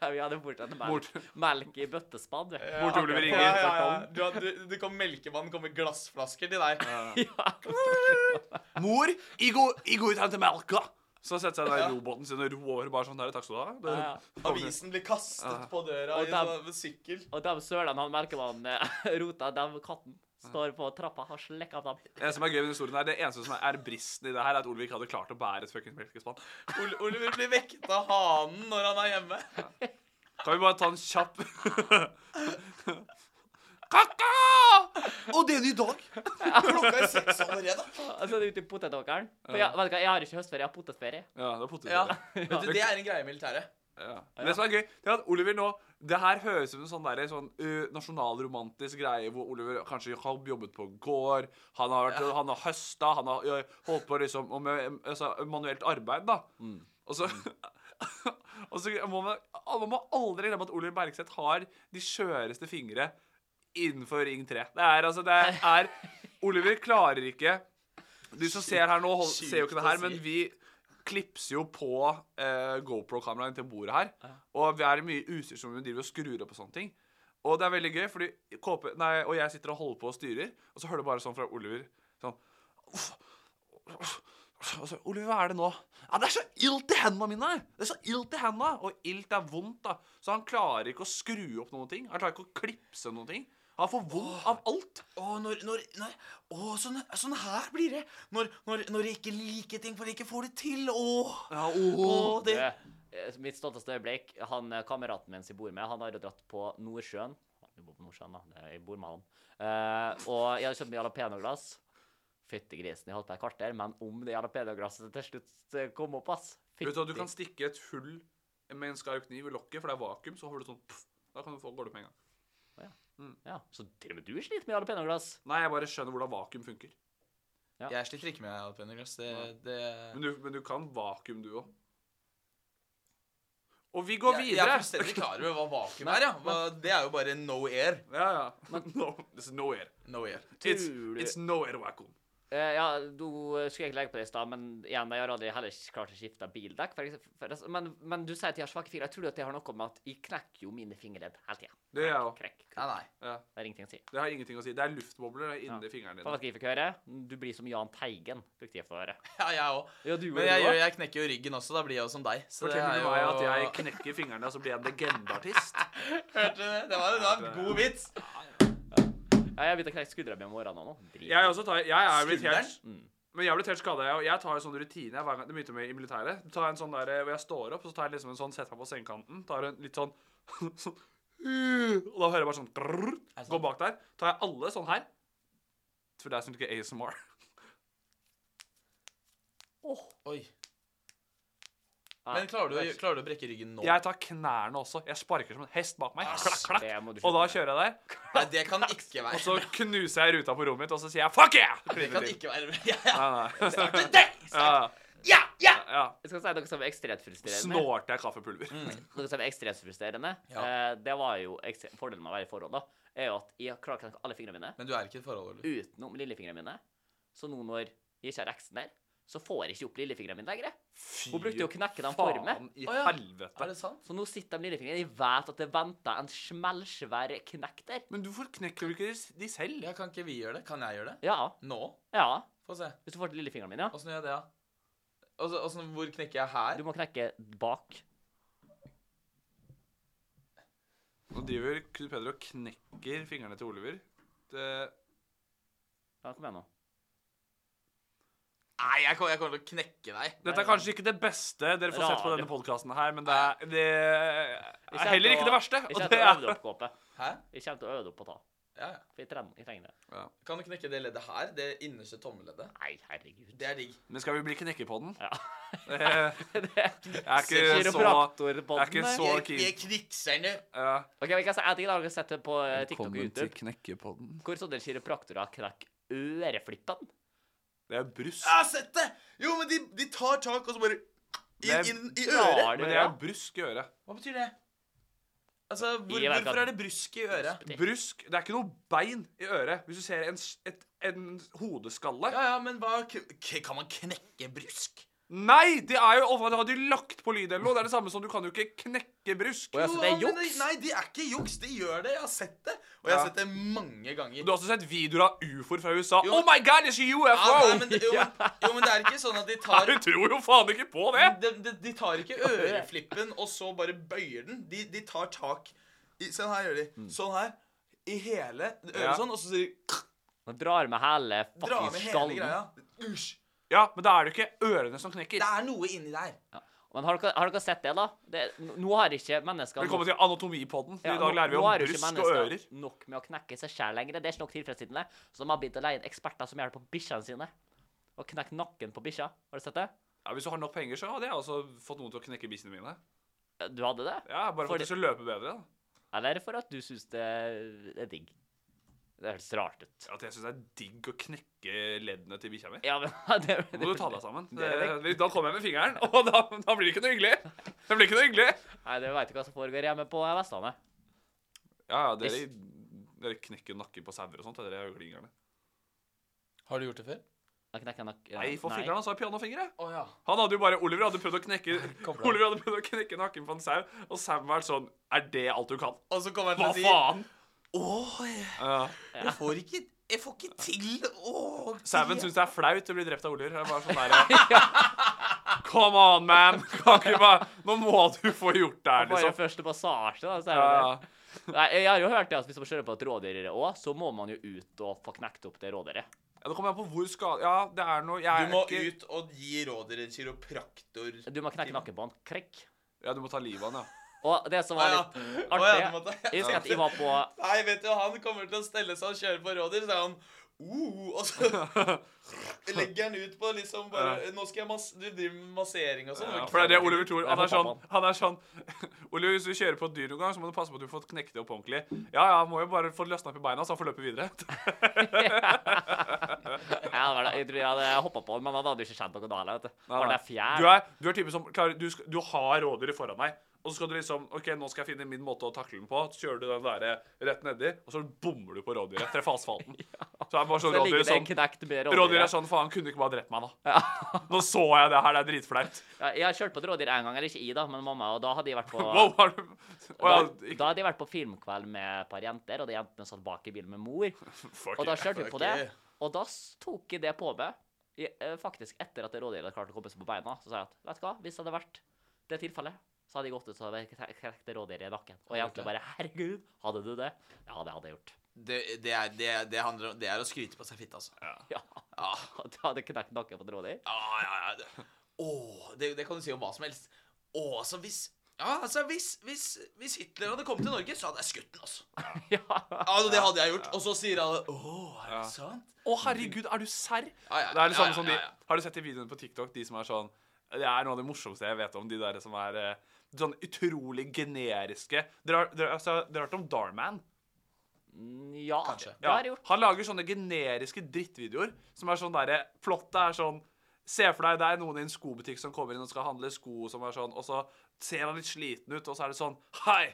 C: Ja, vi hadde fortsatt melk,
B: Bort-
C: melk i bøttespann.
A: Ja,
B: Bort til
A: akkurat.
B: Ulveringen.
A: Ja, ja, ja. Du, har- du, det kom melkevann, kommer glassflasker til deg. [laughs]
B: Mor, jeg går, jeg går ut og henter melka. Så setter seg der i robåten sin og roer bare sånn der. Takk skal du ha. Det,
C: Ja,
A: Avisen blir kastet på døra
C: Og
A: i
C: dem-
A: sånn sykkel.
C: Og de sølene han melkemannen eh, [laughs] rota, dem katten står på trappa og slikker av dem.
B: Det som er gøy med den historien her, det eneste som er bristen i det her, er at Olvik hadde klart å bære et fuckings melkespann.
A: Ol- Oliver blir vekket av hanen når han er hjemme.
B: Kan vi bare ta en kjapp [laughs] Kaka! Og det er det i dag.
A: Klokka er seks allerede.
C: Og så er det ute i potetåkeren. For jeg, vet du hva, jeg har ikke høstferie, jeg har potetferie.
B: Ja, det er potetgull.
A: Ja. Vet du, det er en greie i militæret.
B: Ja. Men Det som er gøy, det er at Oliver nå Det her høres ut som en sånn, der, sånn ø, nasjonalromantisk greie hvor Oliver kanskje har jobbet på gård, han har, vært, han har høsta, han har ø, holdt på liksom, og med ø, altså, manuelt arbeid, da. Og så [laughs] Og så må man, man må aldri glemme at Oliver Bergseth har de skjøreste fingre innenfor Ring 3. Det er altså Det er Oliver klarer ikke du som ser her nå, hold, ser jo ikke det her, men vi klipser jo på eh, GoPro-kameraet til bordet her. Og vi er i mye utstyr som vi driver og skrur opp og sånne ting. Og det er veldig gøy, fordi KP, nei, og jeg sitter og holder på og styrer, og så hører du bare sånn fra Oliver sånn uff, uff, uff. og så, Oliver, hva er det nå? Ja, det er så ilt i hendene mine! Det er så ilt i hendene! Og ilt er vondt, da. Så han klarer ikke å skru opp noen ting. Han klarer ikke å klipse noen ting. Han får vondt av alt.
A: Å, når, når, når Å, sånn, sånn her blir det. Når, når, når jeg ikke liker ting, for jeg ikke får det til. Å,
B: Ja, åh.
A: å det
C: Eh, Mitt stolteste øyeblikk, han eh, kameraten min som jeg bor med, han har jo dratt på Nordsjøen. Vi bor på Nordsjøen, da. Det- Jeg bor med han. Eh, og jeg hadde kjøpt meg jalapeñoglass. Fytti grisen, jeg holdt på et kvarter, men om det jalapeñoglasset til slutt eh, kom opp, ass.
B: Vet du at du
C: Fytti-
B: kan stikke et hull med en skarp kniv i lokket, for det er vakuum, så har du sånn pff, Da kan du få, går det opp med en gang. Mm.
C: Ja, så til og med du sliter med jalapeñoglass.
B: Nei, jeg bare skjønner hvordan vakuum funker.
A: Jeg sliter ikke med alpinoglass. Det, det
B: Men du, men du kan vakuum, du òg. Og vi går
A: jeg, jeg er
B: videre.
A: fullstendig klar over hva vakuum er. Ja. Hva, det er jo bare no air.
B: ja, ja. [laughs] No, it's nowhere.
A: No air.
B: It's,
C: Tror du-
B: it's nowhere vacuum.
C: Eh, ja, du eh, skulle egentlig legge på det i stad, men igjen, jeg har aldri heller ikke klart å skifte bildekk. For eksempel, for, altså, men, men du sier at jeg har svake fingre. Jeg tror at det har noe med at jeg knekker jo mine fingerledd hele tida.
B: Det gjør jeg òg.
C: Knekk, knekk.
A: Nei, nei. [laughs]
B: Ja,
C: Det er ingenting å si.
B: det har ingenting å si. Det er luftbobler inni
C: Hva
B: fingrene dine.
C: skal jeg fikk høre? Du blir som Jahn Teigen, brukte jeg for å høre.
A: Ja, jeg òg.
C: Ja, du
A: Men
C: gjorde
A: jeg,
C: det
A: gjør-
C: også.
A: jeg knekker jo ryggen også. Da blir jeg jo som deg. Så det
B: Forteller
A: er
B: du
A: jo
B: meg at jeg knekker fingrene, og så blir jeg en legendeartist?
A: [laughs] Hørte du det? Det var, det var en god vits.
C: Ja, jeg begynte å knekke skuldra mi om morgenen nå. Drit.
B: Jeg også tar Jeg er blitt helt Mm.
A: Skulderen?
B: Men jeg er blitt helt skada, jeg òg. Jeg tar en sånn rutine jeg, hver gang det begynte med i militæret. Du tar en sånn der eh, hvor jeg står opp, og så tar jeg liksom en sånn Setter meg på sengekanten, tar en litt sånn [laughs] sånn Og da hører jeg bare sånn grrr, Går bak der. Tar jeg alle sånn her. For sånn deg som liker ASMR.
A: Oi. Men klarer du, å- klarer du å brekke ryggen nå?
B: [laughs] Jeg tar knærne også. Jeg sparker som en hest bak meg. Klakk, klakk.
C: det må du slutte
B: Og da
C: med.
B: kjører jeg der.
A: [laughs] Nei, det kan ikke være
B: Og så knuser jeg ruta på rommet mitt, og så sier jeg fuck yeah!
A: [laughs] Det kan ikke være [laughs] ja, ja.
B: Nei, nei.
A: Deg!
B: Ja,
A: Ja! Ja!
B: ja.
C: Jeg skal si noe som er ekstremt frustrerende.
B: Snålte jeg kaffepulver.
C: Noe som er ekstremt frustrerende.
A: Ja.
C: Eh, det var jo ekstre- fordelen med å være i forhold, da. Er jo at jeg klarer å knekke alle fingrene mine.
A: Men du er ikke i et forhold, Oliver.
C: utenom lillefingrene mine. Så nå når jeg ikke har eksen der, så får jeg ikke opp lillefingrene mine lenger. jeg. Hun brukte jo å knekke dem for meg.
B: Faen i
A: Å, ja.
B: helvete.
A: Er det sant?
C: Så nå sitter de lillefingrene. Jeg vet at det venter en smellsvær knekk der.
B: Men hvorfor knekker du ikke de- de selv?
A: Ja, kan ikke vi gjøre det? Kan jeg gjøre det?
C: Ja.
A: Nå?
C: Ja.
A: Få se.
C: Hvis du får til lillefingrene mine, ja.
A: Åssen gjør jeg det, da? Åssen- åssen- hvor knekker jeg her?
C: Du må knekke bak.
B: Nå driver Knut Peder og knekker fingrene til Oliver. Det...
C: Ja, kom igjen nå.
A: Nei, jeg kommer, jeg kommer til å knekke deg.
B: Dette er kanskje ikke det beste dere får sett på
C: Rare.
B: denne podkasten her, men det er, det er heller ikke det verste.
C: Jeg
B: Og
C: kommer
B: det
C: til å øve det
B: er...
C: opp, Kåpe.
A: Hæ?
C: Jeg kommer til å øve det opp på ta.
A: Ja, ja.
C: For jeg trenger, jeg trenger det.
A: Kan du knekke det leddet her? Det innerste tommeleddet?
C: Nei, herregud.
A: Det er digg.
B: Men skal vi bli knekker på den?
C: Ja.
B: Jeg er ikke så Jeg er ikke så keen.
A: knikserne.
B: Ja.
C: Ok, men jeg kan si en ting da, dere har sett det på eh, TikTok og YouTube.
B: Knekkepodden.
C: Hvor sånne kiropraktorer knekker øreflippene.
B: Det er brusk.
A: Jeg har sett det! Jo, men de, de tar tak og så bare
B: Det er-
A: inn, inn i
C: Ja, er det
A: øret.
B: Men det
C: det,
B: er
C: da?
B: brusk i øret.
A: Hva betyr det? Altså, hvor,
C: Jeg vet ikke.
A: hvorfor er det brusk i øret?
B: Brusk Det er ikke noe bein i øret. Hvis du ser en, s- et, en hodeskalle
A: Ja, ja, men hva k k Kan man knekke brusk?
B: Nei! Det er jo ofte, Har de lagt på lyd eller noe? Det er det samme som du kan jo ikke knekke brusk.
A: Jo, ja, men det- Nei, de er ikke juks. De gjør det. Jeg har sett det. Og jeg har
B: Ja.
A: sett det mange ganger.
B: Du har også sett videoer av ufoer fra USA.
A: Jo.
B: Oh my god, it's a UFO!
A: Ja, nei, men,
B: [laughs]
A: det- jo, men, jo, men det er ikke sånn at de tar
B: Nei, du tror jo faen ikke på det!
A: de, de, de tar ikke øreflippen og så bare bøyer den. De, de tar tak i, Sånn her gjør de. Sånn her. I hele øret
B: Ja.
A: sånn, og så sier de
C: Man drar med hele
A: Dra med
C: fuckings
A: hele greia.
C: skallen.
A: Usj.
B: Ja, men da er det jo ikke ørene som knekker.
A: Det er noe inni der.
C: Men har dere, har dere sett det, da? Det, nå har ikke mennesker
B: Velkommen til anatomipodden. for
C: Ja,
B: I dag
C: nå-
B: lærer vi
C: nå
B: om
C: har jo ikke
B: brusk og
C: mennesker
B: ører.
C: Nok med å knekke seg sjæl lenger. Det er ikke nok tilfredsstillende. Så de har begynt å leie inn eksperter som gjør det på bikkjene sine. Og knekke nakken på bikkja. Har du sett det?
B: Ja, Hvis du har nok penger, så hadde jeg også fått noen til å knekke bikkjene mine.
C: Ja, Du hadde det?
B: Ja, Bare for at
C: Fordi-
B: de skal løpe bedre. da.
C: Eller for at du syns det er digg. Det høres rart ut.
B: At jeg syns det er digg å knekke leddene til bikkja mi.
C: Ja, men [laughs] det,
B: Nå må du ta deg sammen.
C: Det er det.
B: Det- Da kommer jeg med fingeren, [laughs] og da, da blir det ikke noe hyggelig. Det blir ikke noe hyggelig.
C: Nei, det veit du hva som foregår hjemme på Vestlandet.
B: Ja, ja, dere, dere knekker nakken på sauer og sånt. Dere er jo klingerne.
A: Har du gjort det før?
C: Da knekker jeg nak-
B: Nei, for fingeren hans har pianofingre.
A: Å ja.
B: Han hadde jo bare, Oliver hadde prøvd å knekke
A: Kobla.
B: Oliver hadde prøvd å knekke nakken på en sau, og sauen var sånn Er det alt du kan?
A: Og så kommer jeg til
B: Hva
A: å si
B: faen?
A: Åh, jeg,
B: Ja.
A: jeg får ikke Jeg får ikke til Åh,
B: Sauen syns det er flaut å bli drept av Oliver. Det er bare sånn der, eh, Come on, man! Kan ikke bare, nå må du få gjort det her,
C: Bare
B: liksom.
C: første passasje, da. Så er det
B: Ja,
C: det. Nei, jeg har jo hørt det at hvis man kjører på et rådyr òg, så må man jo ut og få knekt opp det rådyret.
B: ja, det kommer an på hvor skade Ja, det er noe jeg
A: Du
B: er
A: må
B: ikke-
A: ut og gi råder en kiropraktor.
C: Du må knekke nakken på han. Krekk.
B: Ja, du må ta livet av han, ja.
C: Og det som
A: Å
C: var
A: ja.
C: litt
A: Å
C: artig
A: ja, du måtte-
C: Jeg husker at jeg var på
A: Nei, vet du, han kommer til å stelle seg og kjøre på rådyr, så er han Uh, og
B: [laughs]
A: så legger han ut på liksom bare Nå skal jeg mass Du driver med massering og sånn.
B: Ja,
A: ikke
B: for det er det
A: sant?
B: Oliver tror.
C: Jeg
B: Han er sånn,
C: håper
B: han er sånn [laughs] Oliver, hvis du kjører på et dyr noen gang, så må du passe på at du får knekt det opp ordentlig. Ja, ja, må jo bare få løsna opp i beina, så han får løpe videre.
C: [laughs]
B: [laughs]
C: Ja, det var det. Jeg tror jeg hadde hoppa på den, men han hadde jo ikke kjent noe da heller, vet du. Var det
B: Du
C: fjær?
B: er, du er typen som klarer, du, sk- du har rådyret foran deg, og så skal du liksom OK, nå skal jeg finne min måte å takle den på. Så kjører du den der eh, rett nedi, og så bommer du på rådyret. Treffer
C: [laughs]
B: asfalten. Så er det bare sånn
C: Så ligger
B: rådyret
C: det en
B: sånn
C: knekt med
B: Rådyret er
C: rådyret.
B: sånn Faen, kunne du ikke bare drept meg, da? Nå så jeg det her, det er dritflaut.
C: Ja, Jeg har kjørt på et rådyr en gang, eller ikke jeg, da, men mamma, og da hadde jeg vært
A: [laughs]
C: på
B: Wow, har du Å ja,
C: da,
B: ikke
C: da hadde jeg vært på filmkveld med et par jenter, og de jentene satt bak i bilen med mor.
B: fuck
C: Og da
B: it.
C: kjørte vi på det.
A: [laughs] Fuck yeah.
C: Og da s- tok jeg det på meg. I, eh, faktisk etter at det rådyret hadde klart å komme seg på beina, så sa jeg at vet du hva, hvis det hadde vært det tilfellet, så hadde jeg gått ut og knekt det rådyret i nakken. Og jentene bare herregud, hadde du det? Ja, det hadde jeg gjort.
A: Det, det, er, det, det, handler om, det er å skryte på seg fitte, altså. Ja,
C: Ja.
A: Ah.
C: Du hadde knekt nakken på et rådyr?
A: ja, ja. Det, åh, det, det kan du si om hva som helst. Å, altså hvis Ja, altså hvis, hvis, hvis Hitler hadde kommet til Norge, så hadde jeg skutt den, altså.
C: [laughs] Ja.
A: Ja, altså, det hadde jeg gjort. Og så sier alle Å, er det sant?
B: Å, herregud, er du serr?
A: Ah, Ja, ja,
B: Det er
A: ja,
B: det samme
A: ja,
B: som de
A: ja, ja.
B: Har du sett de videoene på TikTok, de som er sånn Det er noe av det morsomste jeg vet om, de der som er eh, sånn utrolig generiske Dere har dere- altså, dere har hørt om Darman?
C: ja.
A: Kanskje.
C: Det har jeg gjort.
B: Han lager sånne generiske drittvideoer som er sånn derre Plottet er sånn Se for deg det er noen i en skobutikk som kommer inn og skal handle sko, som er sånn, og så ser han litt sliten ut, og så er det sånn Hei!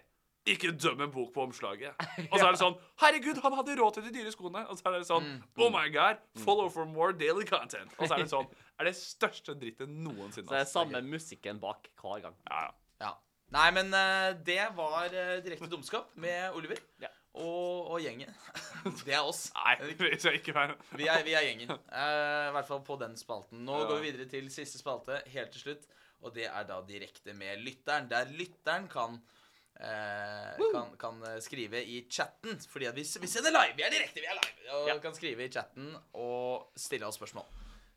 B: Ikke døm en bok på omslaget.
C: [laughs]
B: Og så er det sånn Herregud, han hadde råd til de dyre skoene. Og så er det sånn
C: Mm.
B: Oh my god, follow for more daily content. Og så er
C: [laughs]
B: det sånn Er det største drittet noensinne.
C: Så det er
B: altså.
C: samme musikken bak hver gang.
B: Ja, ja.
A: Ja. Nei, men eh, det var eh, direkte dumskap med Oliver
C: Ja.
A: og, og gjengen. Det er oss.
B: Nei, [laughs] vi skal ikke være
A: Vi er, vi er gjengen. Eh, I hvert fall på den spalten. Nå går vi videre til siste spalte, helt til slutt. Og det er da direkte med lytteren, der lytteren kan eh, kan, kan eh, skrive i chatten. Fordi at vi, s- vi sender live! Vi er direkte, vi er live! Og kan skrive i chatten og stille oss spørsmål.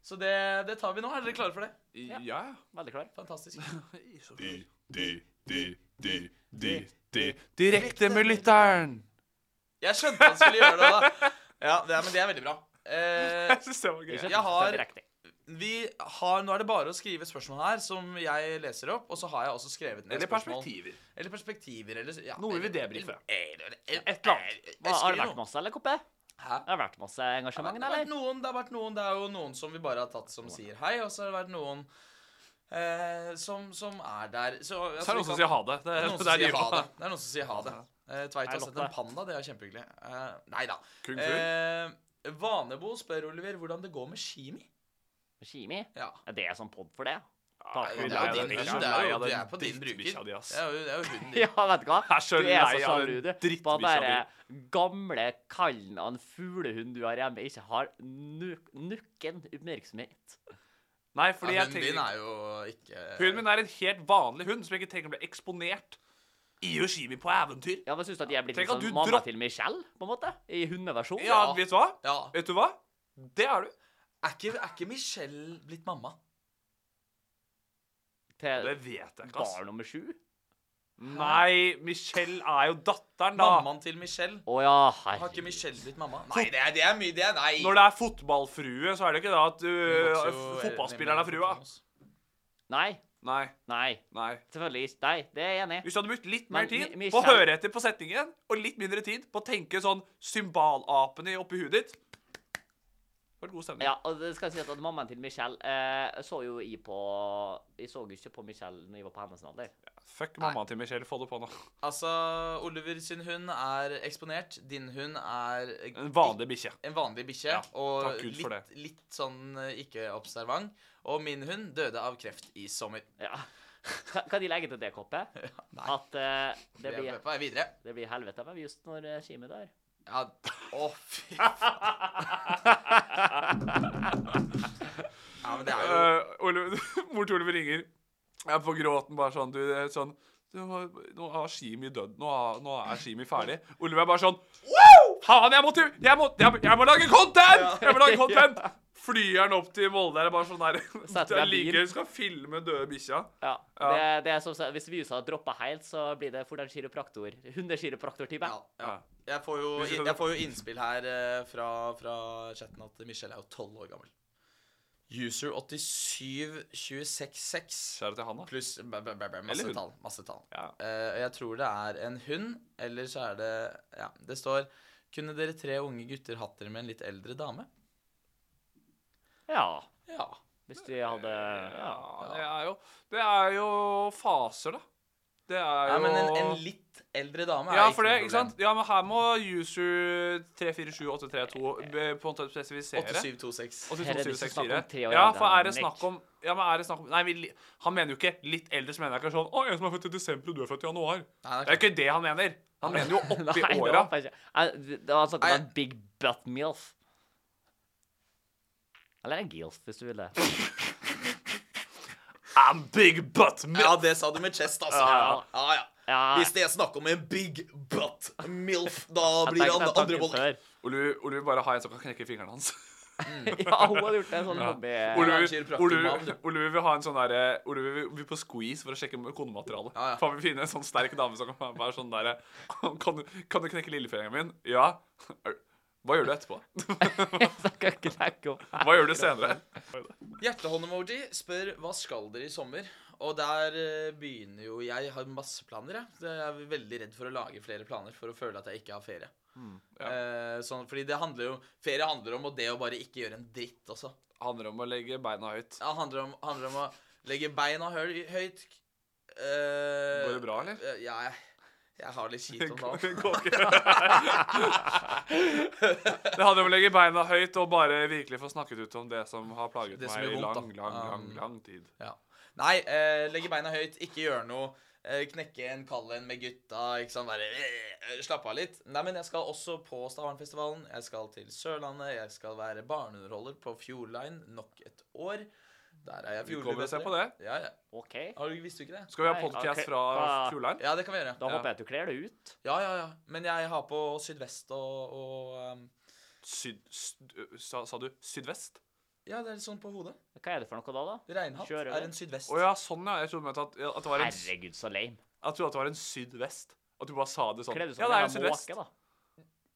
A: Så det, det tar vi nå. Er dere klare for det?
B: Ja, ja.
C: Veldig klar.
A: Fantastisk.
B: Direkte med lytteren.
A: Jeg skjønte han skulle gjøre det, da. [laughs] Ja, det er, men det er veldig bra. Eh,
B: Jeg synes det var gøy.
C: Ikke
A: Jeg har-
C: det er direkte.
A: vi har, nå er det bare å skrive spørsmål her som jeg leser opp, og så har jeg også skrevet ned
B: Eller
A: spørsmål.
B: perspektiver.
A: Eller perspektiver, eller ja,
B: Noe vi vil
A: eller-
B: debrife.
A: eller- eller-
C: Et eller annet.
A: eller-
C: Hva, har det
A: skriv
C: vært
A: noe.
C: masse, eller, Koppe?
A: Hæ?
C: Har det vært masse
A: Det har
C: engasjement,
A: vært
C: eller?
A: noen, det har vært noen. Det er jo noen som vi bare har tatt som sier hei, og så har det vært noen eh, som, som er der. Så, altså,
B: Så er det
A: vi
B: noen som
A: kan-
B: sier ha det. Det,
A: Det
B: er-
A: er noen
B: det
A: som
B: er
A: sier
B: nivå.
A: ha det. Det er noen som sier ha det. Eh, Tveit
C: Nei,
A: har
C: nok
A: sett en
C: det.
A: panda, det er kjempehyggelig. Eh, nei da.
B: Kung fu?
A: Eh, Vanebo spør Oliver hvordan det går med Shimi.
C: Kimi?
A: Ja.
C: Er det sånn [laughs] pod for det? Takk
A: Det
C: for i
A: er jo
C: dag, da.
A: din, det er jo, du er på din bruker. Det
B: drittbikkja di, ass.
A: er jo, det er jo hunden din.
C: Ja, vet du hva?
B: Jeg er så
C: du er så
B: lei av
C: sjalu,
B: den
C: du. På
B: drittbikkja
C: bare gamle kallen av en fuglehund du har hjemme, ikke har nuk nukken oppmerksomhet.
B: Nei,
A: Ja,
B: fordi jeg
A: hunden din
B: tenker
A: er jo ikke
B: Hunden min er en helt vanlig hund som jeg ikke trenger å bli eksponert i Yoshimi på eventyr.
C: Ja, men Syns du at jeg er blitt
B: Tenk
C: litt
B: at du
C: sånn mamma
B: dra-
C: til Michelle, på en måte? I hundeversjon?
B: Ja, vet du hva?
A: Ja.
B: Vet du hva? Det er du.
A: Er ikke, er ikke Michelle blitt mamma?
C: Til
B: Det vet jeg ikke, ass.
C: Eh, barn nummer sju?
B: Nei, Michelle er jo datteren, da.
A: Mammaen til Michelle?
C: Å ja,
A: Har ikke
C: herregud.
A: Michelle blitt mamma? Nei, det er, det er mye. Det er nei.
B: Når det er fotballfrue, så er det ikke da at
A: Hun
B: uh,
A: vokser jo-
B: fotballspilleren er frua.
C: Nei.
B: Nei.
C: Nei.
B: Nei.
C: Selvfølgelig ikke. Nei, det er jeg enig i.
B: Hvis du hadde brukt litt
C: Men
B: mer tid
C: Mi-
B: på å
C: Michelle-
B: høre etter på setningen, og litt mindre tid på å tenke sånn symbalapene oppi huet ditt Det var en god stemning.
C: Ja, og det skal jeg si at Mammaen til Michelle eh, så jo jeg på Jeg så jo ikke på Michelle når jeg var på hennes alder.
B: Fuck mammaen til Michelle. Få det på nå.
A: Altså, Oliver sin hund er eksponert. Din hund er
B: En vanlig bikkje.
A: en vanlig bikkje.
B: Ja,
A: og
B: takk Gud for
A: litt, litt sånn eh, ikke-observant. Og min hund døde av kreft i sommer.
C: Ja. [laughs] Kan- Kan de legge til det, Koppe? At eh, det,
A: Det
C: blir,
A: er på vei videre.
C: det blir helvete med just når eh, Kimi dør.
A: Ja, å
B: [laughs]
A: fy
C: [laughs]
B: [laughs]
A: Ja, men det er jo
B: Eh, Ole- [laughs] Mor til Oliver ringer. Jeg er på gråten bare sånn Du, det er sånn du, har- Nå har Shimi dødd. Nå, har- nå er Shimi ferdig. Oliver er bare sånn Wow! Faen, jeg må, til, jeg, må, jeg, må, jeg må lage content! Jeg må lage
A: [laughs]
B: content! Flyr han opp til Molde er det bare sånn der [laughs]
C: Setter
B: Der
C: deg i
B: ligger
C: bil.
B: hun skal filme døde bikkja.
C: Ja.
B: Ja.
C: Det, det er som sagt, Hvis viruset hadde droppa helt, så blir det fort en kiropraktor. [laughs] Hundekiropraktortime.
A: ja, ja. Jeg, får jo, jeg får jo innspill her eh, fra, fra chatten at Michelle er jo 12 år gammel. User 87266
B: Kjære til han, da.
A: pluss b- b- b- masse
B: Eller hun.
A: tall. Masse tall.
B: Ja.
A: Eh, jeg tror det er en hund, eller så er det Ja, det står Kunne dere tre unge gutter hatt dere med en litt eldre dame?
C: Ja.
A: Ja.
C: Hvis de hadde ja.
B: Ja, det er jo Det er jo faser, da. Det er jo
A: Nei, men en, en litt eldre dame er
B: Ja,
A: ikke
B: for det,
A: noe
B: ikke
A: problem.
B: sant? Ja, men her må user 3478332 be- eh, på en måte
A: 8726.
B: spesifisere.
C: Eh, Her er det ikke snakk
B: 82764.
C: om tre år
B: Ja,
C: eldre
B: for er det
C: enn Nick.
B: snakk om Ja, men er det snakk om Nei, vi, li- han mener jo ikke litt eldre, så mener jeg ikke sånn Å, en som er født i desember, og du er født i januar.
A: Nei, det
B: det
A: er
B: er ikke det han mener.
C: [laughs]
B: Han mener jo
C: Nei,
B: oppi
C: det
B: åra.
C: håper jeg ikke. Eh, Det var snakk om
A: Nei.
C: en big butt milf. Eller en gilf, hvis du vil det.
B: I'm big butt man.
A: Ja, det sa du med chest, altså.
C: Ja,
A: Ja, ja.
C: Ja.
A: Hvis det er snakk om en big butt milf, da
C: Jeg
A: blir det
C: tenkte
A: andre,
C: den tanken
A: andre boller.
C: før. Mm.
B: Oliver Oliver bare har en som kan knekke fingrene hans.
C: [laughs] Ja, hun hadde gjort en sånn hobby.
B: Oliver
A: arrangerer praktikum med han,
B: Oliver-
A: du.
B: Oliver vil ha en sånn derre Oliver vil- vil på squeeze for å sjekke konematerialet.
A: Ja, ja.
B: For han vil finne en sånn sterk dame som kan være sånn derre kan, du- kan du knekke lillefingeren min? Ja. Hva gjør du etterpå?
C: Så [laughs] jeg kan ikke tenke om
B: Hva gjør du senere?
A: Hjertehånd-emoji spør hva skal dere i sommer? Og der eh, begynner jo Jeg har masse planer, jeg. Så Jeg er veldig redd for å lage flere planer for å føle at jeg ikke har ferie.
B: Mm,
A: Eh, sånn, fordi det handler jo Ferie handler om og det å bare ikke gjøre en dritt også.
B: handler om å legge beina høyt.
A: Det handler om, handler om å legge beina høy, høyt. Eh,
B: Går det bra, eller?
A: eh, Ja, jeg, jeg har litt
B: [laughs]
A: kjipt om
B: Går-
A: dagen.
B: går ikke. Det handler om å legge beina høyt og bare virkelig få snakket ut om det som har plaget
A: Det som gjør
B: meg i
A: vondt,
B: lang,
A: da.
B: lang, lang,
A: Um,
B: lang tid.
A: Ja. Nei, eh, legge beina høyt, ikke gjøre noe. Eh, knekke en kall en med gutta. Ikke sant, bare eh, Slappe av litt. Nei, men jeg skal også på Stavernfestivalen. Jeg skal til Sørlandet. Jeg skal være barneunderholder på Fjordline nok et år. Der er jeg
B: Vi kommer og ser
A: vet
B: på
A: dere.
B: det.
A: Ja, ja.
C: OK.
A: Har du, visste du ikke det?
B: Skal vi ha
C: Nei,
B: podkast
C: ok.
B: fra
C: Hva-
B: Fjordline?
A: Ja, det kan vi gjøre.
C: Da håper jeg at du kler deg ut.
A: Ja, ja, ja. Men jeg har på Sydvest og, og um,
B: Syd, syd, sa, sa du sydvest?
A: Ja, det er litt sånn på hodet.
C: Hva er det for noe da, da?
A: Reinhatt
C: Kjører
A: er
C: vi?
A: en sydvest.
B: Å ja, sånn ja. Jeg trodde mente at, at, det var en, jeg
C: Herregud, så lame.
B: trodde at det var en sydvest. At du bare sa det sånn.
C: Kler du
B: ja,
C: som
B: det
C: en
B: er en
C: jævla
B: sydvest.
C: måke, da?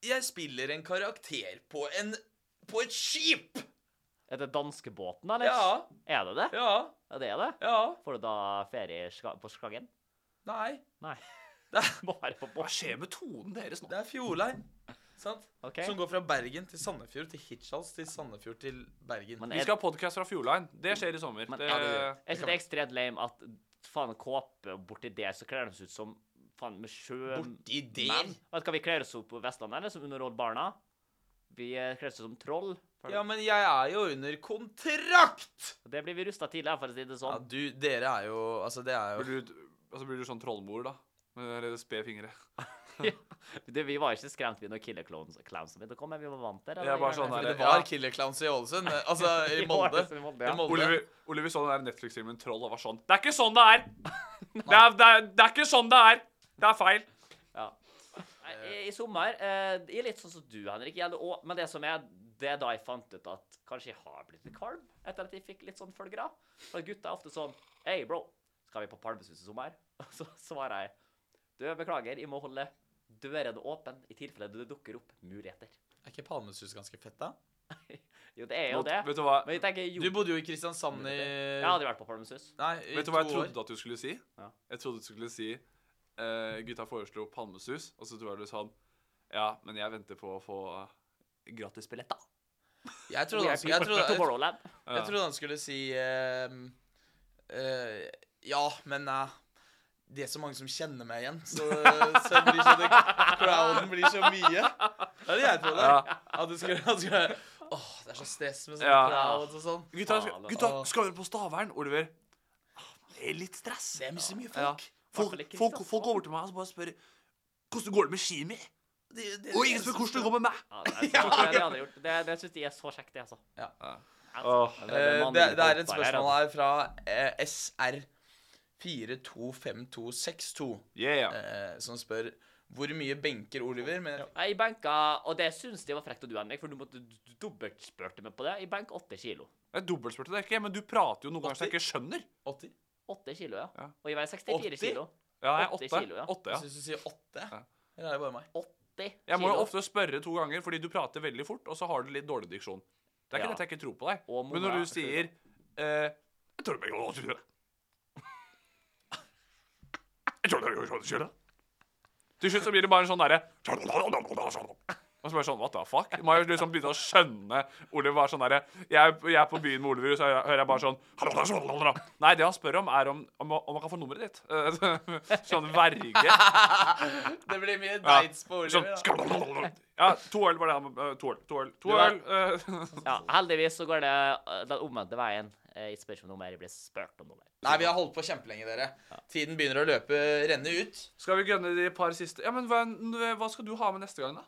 A: Jeg spiller en karakter på en På et skip!
C: Er det danskebåten, eller?
A: Ja.
C: Er det det?
A: Ja.
C: Ja, det er det.
A: Ja.
C: Får du da ferie i Ska- på Skagen?
A: Nei.
C: Nei.
A: [laughs] Det er,
C: Bare på
B: Hva
C: båt.
B: skjer med tonen deres nå?
A: det er Fjordline. Sant?
C: Ok.
A: Som går fra Bergen til Sandefjord til Hirtshals til Sandefjord til Bergen.
C: Men
B: Vi skal ha podkast fra Fjordline. Det skjer i sommer.
C: Men-
B: det,
C: Ja,
A: Mm. det
C: Jeg synes det er ekstremt lame at faen kåpe og borti der, så kler de seg ut som faen med sjø...
A: Borti der?
C: menn. Vet du hva vi kler oss opp på Vestlandet, eller som underholder barna?
G: Vi eh, kler oss ut som troll. for-
A: Ja, men jeg er jo under kontrakt!
G: Det blir vi rusta til, for å si det sånn.
A: Ja, du, dere er jo Altså, det er jo
B: Blir du, altså, blir du sånn trollmor, da? Med eller spede fingre.
G: [laughs] Du, vi var ikke skremt ved når Killer Clowns clownsene begynte å komme. Vi var vant til det.
B: Jeg er bare sånn
A: For
B: der,
A: det var
G: [laughs]
B: ja.
A: Killer Clowns i Ålesund. eh, Altså, i Molde.
G: I Molde,
A: I
G: ja.
A: Molde.
B: Oliver, Oliver så den der Netflix-filmen Troll og var sånn Det er ikke sånn det er!
G: [laughs]
B: Det er, det er, det er ikke sånn det er! Det er feil.
G: Ja. I, I sommer eh, Jeg er litt sånn som du, Henrik. Jeg, hadde også- men det som er det er da jeg fant ut at kanskje jeg har blitt litt kvalm etter at jeg fikk litt sånn følgere. For gutta er ofte sånn Hei, bro, skal vi på Palmesus i sommer? [laughs] Og så svarer jeg Du, beklager, jeg må holde dørene åpne i tilfelle det dukker opp muligheter.
A: Er ikke Palmesus ganske fett, da?
G: Jo, det er jo
B: Vet-
G: det.
B: Vet du hva,
G: Men jeg tenker jo
A: Du bodde jo i Kristiansand i
G: Jeg har aldri vært på Palmesus.
A: Nei, i
B: vet du hva jeg
A: to år.
B: trodde at du skulle si?
G: Ja.
B: Jeg trodde du skulle si eh, Gutta foreslo palmesus, og så tror jeg du sa Ja, men jeg venter på å få eh, gratisbillett, da.
A: Jeg
G: Vi
A: trodde
G: er
A: han, jeg
G: på
A: trodde, jeg,
G: Tomorrowland.
A: jeg trodde han skulle si ehm, eh, Ja, men eh, det er så mange som kjenner meg igjen, så, eh, så, det blir så det, crowden blir så mye. Det er det jeg trodde.
B: Ja.
A: At du skulle, at du skulle Åh, det er så stress med sånne
B: Ja.
A: crowds og sånn.
B: Gutta,
G: Faen, altså.
B: gutta skal dere på Stavern, Oliver? Ah, Det er litt stress.
A: Det er mye så mye
B: Ja.
A: folk.
B: Folk,
G: Hvertfall ikke
B: folk,
G: Kristiansand.
B: folk går over til meg og så bare spør hvordan går det med skiet mitt.
A: Det- det-
B: Og ingen spør hvordan det går med meg.
G: Ja, det er så- det er det jeg hadde gjort. Det, det syns de er så kjekt, det, altså.
A: Ja.
G: Altså,
A: Eh,
G: mannen
A: det, det er
G: i
A: et
G: Kolberg her,
A: spørsmål
G: altså.
A: her fra eh, SR425262,
B: Yeah.
A: eh, som spør hvor mye benker Oliver? Men jeg,
G: Jeg benka, og det syns de var frekt av du, Henrik, for du måtte du- du dobbeltspurte meg på det. Jeg benka åtte kilo.
B: Jeg dobbeltspurte deg ikke, men du prater jo noen ganger så jeg ikke skjønner.
A: 80?
G: Åtte kilo, ja.
B: Ja.
G: Og jeg veier 64
A: Åtti?
G: kilo.
B: Ja, jeg er
G: Åtte
B: åtte.
G: kilo, ja.
B: Åtte, ja.
A: Syns du sier 8?
B: Ja.
A: Eller er det bare meg?
G: 80
B: Jeg må jo
G: kilo.
B: ofte spørre to ganger, fordi du prater veldig fort, og så har du litt dårlig diksjon. Det er
G: Ja.
B: ikke dette jeg ikke tror på deg.
G: Og
B: Men når
G: moral,
B: du sier eh, Jeg tror det blir godt å kjøre. Jeg tror det blir godt å kjøre. Til slutt så blir det bare en sånn derre og så bare sånn, what the fuck? Man har jo liksom begynt å skjønne Oliver var sånn derre jeg, er- jeg er på byen med Oliver, så hører jeg- hører jeg bare sånn Nei, det han spør om, er om, om, om han kan få nummeret ditt. [laughs] Eh, Sånn verge.
A: [laughs] Det blir mye
B: Ja.
A: dates på
B: Sånn,
A: Oliver. da.
B: skal- Ja, to øl var det han eh, To øl. To øl. To
G: Ja.
B: øl. eh. [laughs]
G: Ja, heldigvis så går det eh, den omvendte veien. Eh, Jeg spør ikke om noe mer, jeg blir spurt om noe mer.
A: Nei, vi har holdt på kjempelenge, dere. Tiden begynner å løpe, renne ut.
B: Skal vi gønne de par siste Ja, men hva, hva skal du ha med neste gang, da?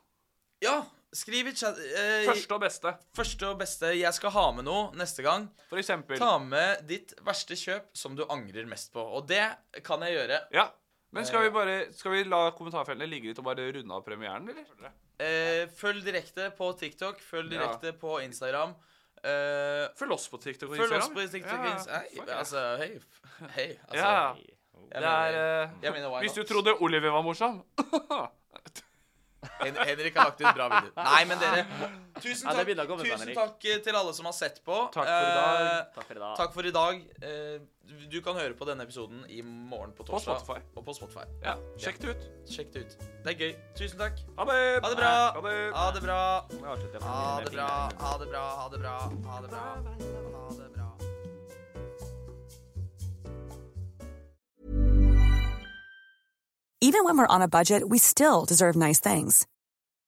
A: Ja, skriv i chat. Eh,
B: Første og beste,
A: Første og beste. Jeg skal ha med noe neste gang.
B: for eksempel.
A: Ta med ditt verste kjøp som du angrer mest på. Og det kan jeg gjøre.
B: Ja. Men skal
A: Eh.
B: vi bare Skal vi la kommentarfeltene ligge litt og bare runde av premieren, eller?
A: Eh, følg direkte på TikTok, følg
B: Ja.
A: direkte på Instagram. Eh,
B: Følg oss på TikTok og
A: følg oss
B: Instagram.
A: på TikTok.
B: Ja,
A: Inst- Hei,
B: fuck yeah.
A: altså, hei. f- [laughs] hei altså,
B: Ja.
A: jeg
B: Det er
A: mener-
B: eh,
A: jeg mener, why
B: Hvis du
A: not?
B: trodde Oliver var morsom
A: Hen Henrik har lagt ut bra video. Nei, men dere, tusen
G: Ja, det
A: takk,
G: begynner å komme,
A: tusen
G: Henrik.
A: takk eh, til alle som har sett på.
B: Takk for i dag.
A: Eh,
G: Takk for i dag.
A: Takk for i dag. Eh, du- Du kan høre på denne episoden i morgen på torsdag.
B: Spotify.
A: Og på Spotify.
B: Ja, [laughs] sjekk det ut.
A: Sjekk det ut. Det er gøy. Tusen takk.
B: Ha det.
A: Ha det bra.
B: Ha det.
A: Ha det bra.
G: Jeg har avsluttet med
A: Ha det
G: fingeren.
A: bra. Ha det bra. Ha det bra. Ha det bra. Ha det bra.
C: Even when we're on a budget, we still deserve nice things.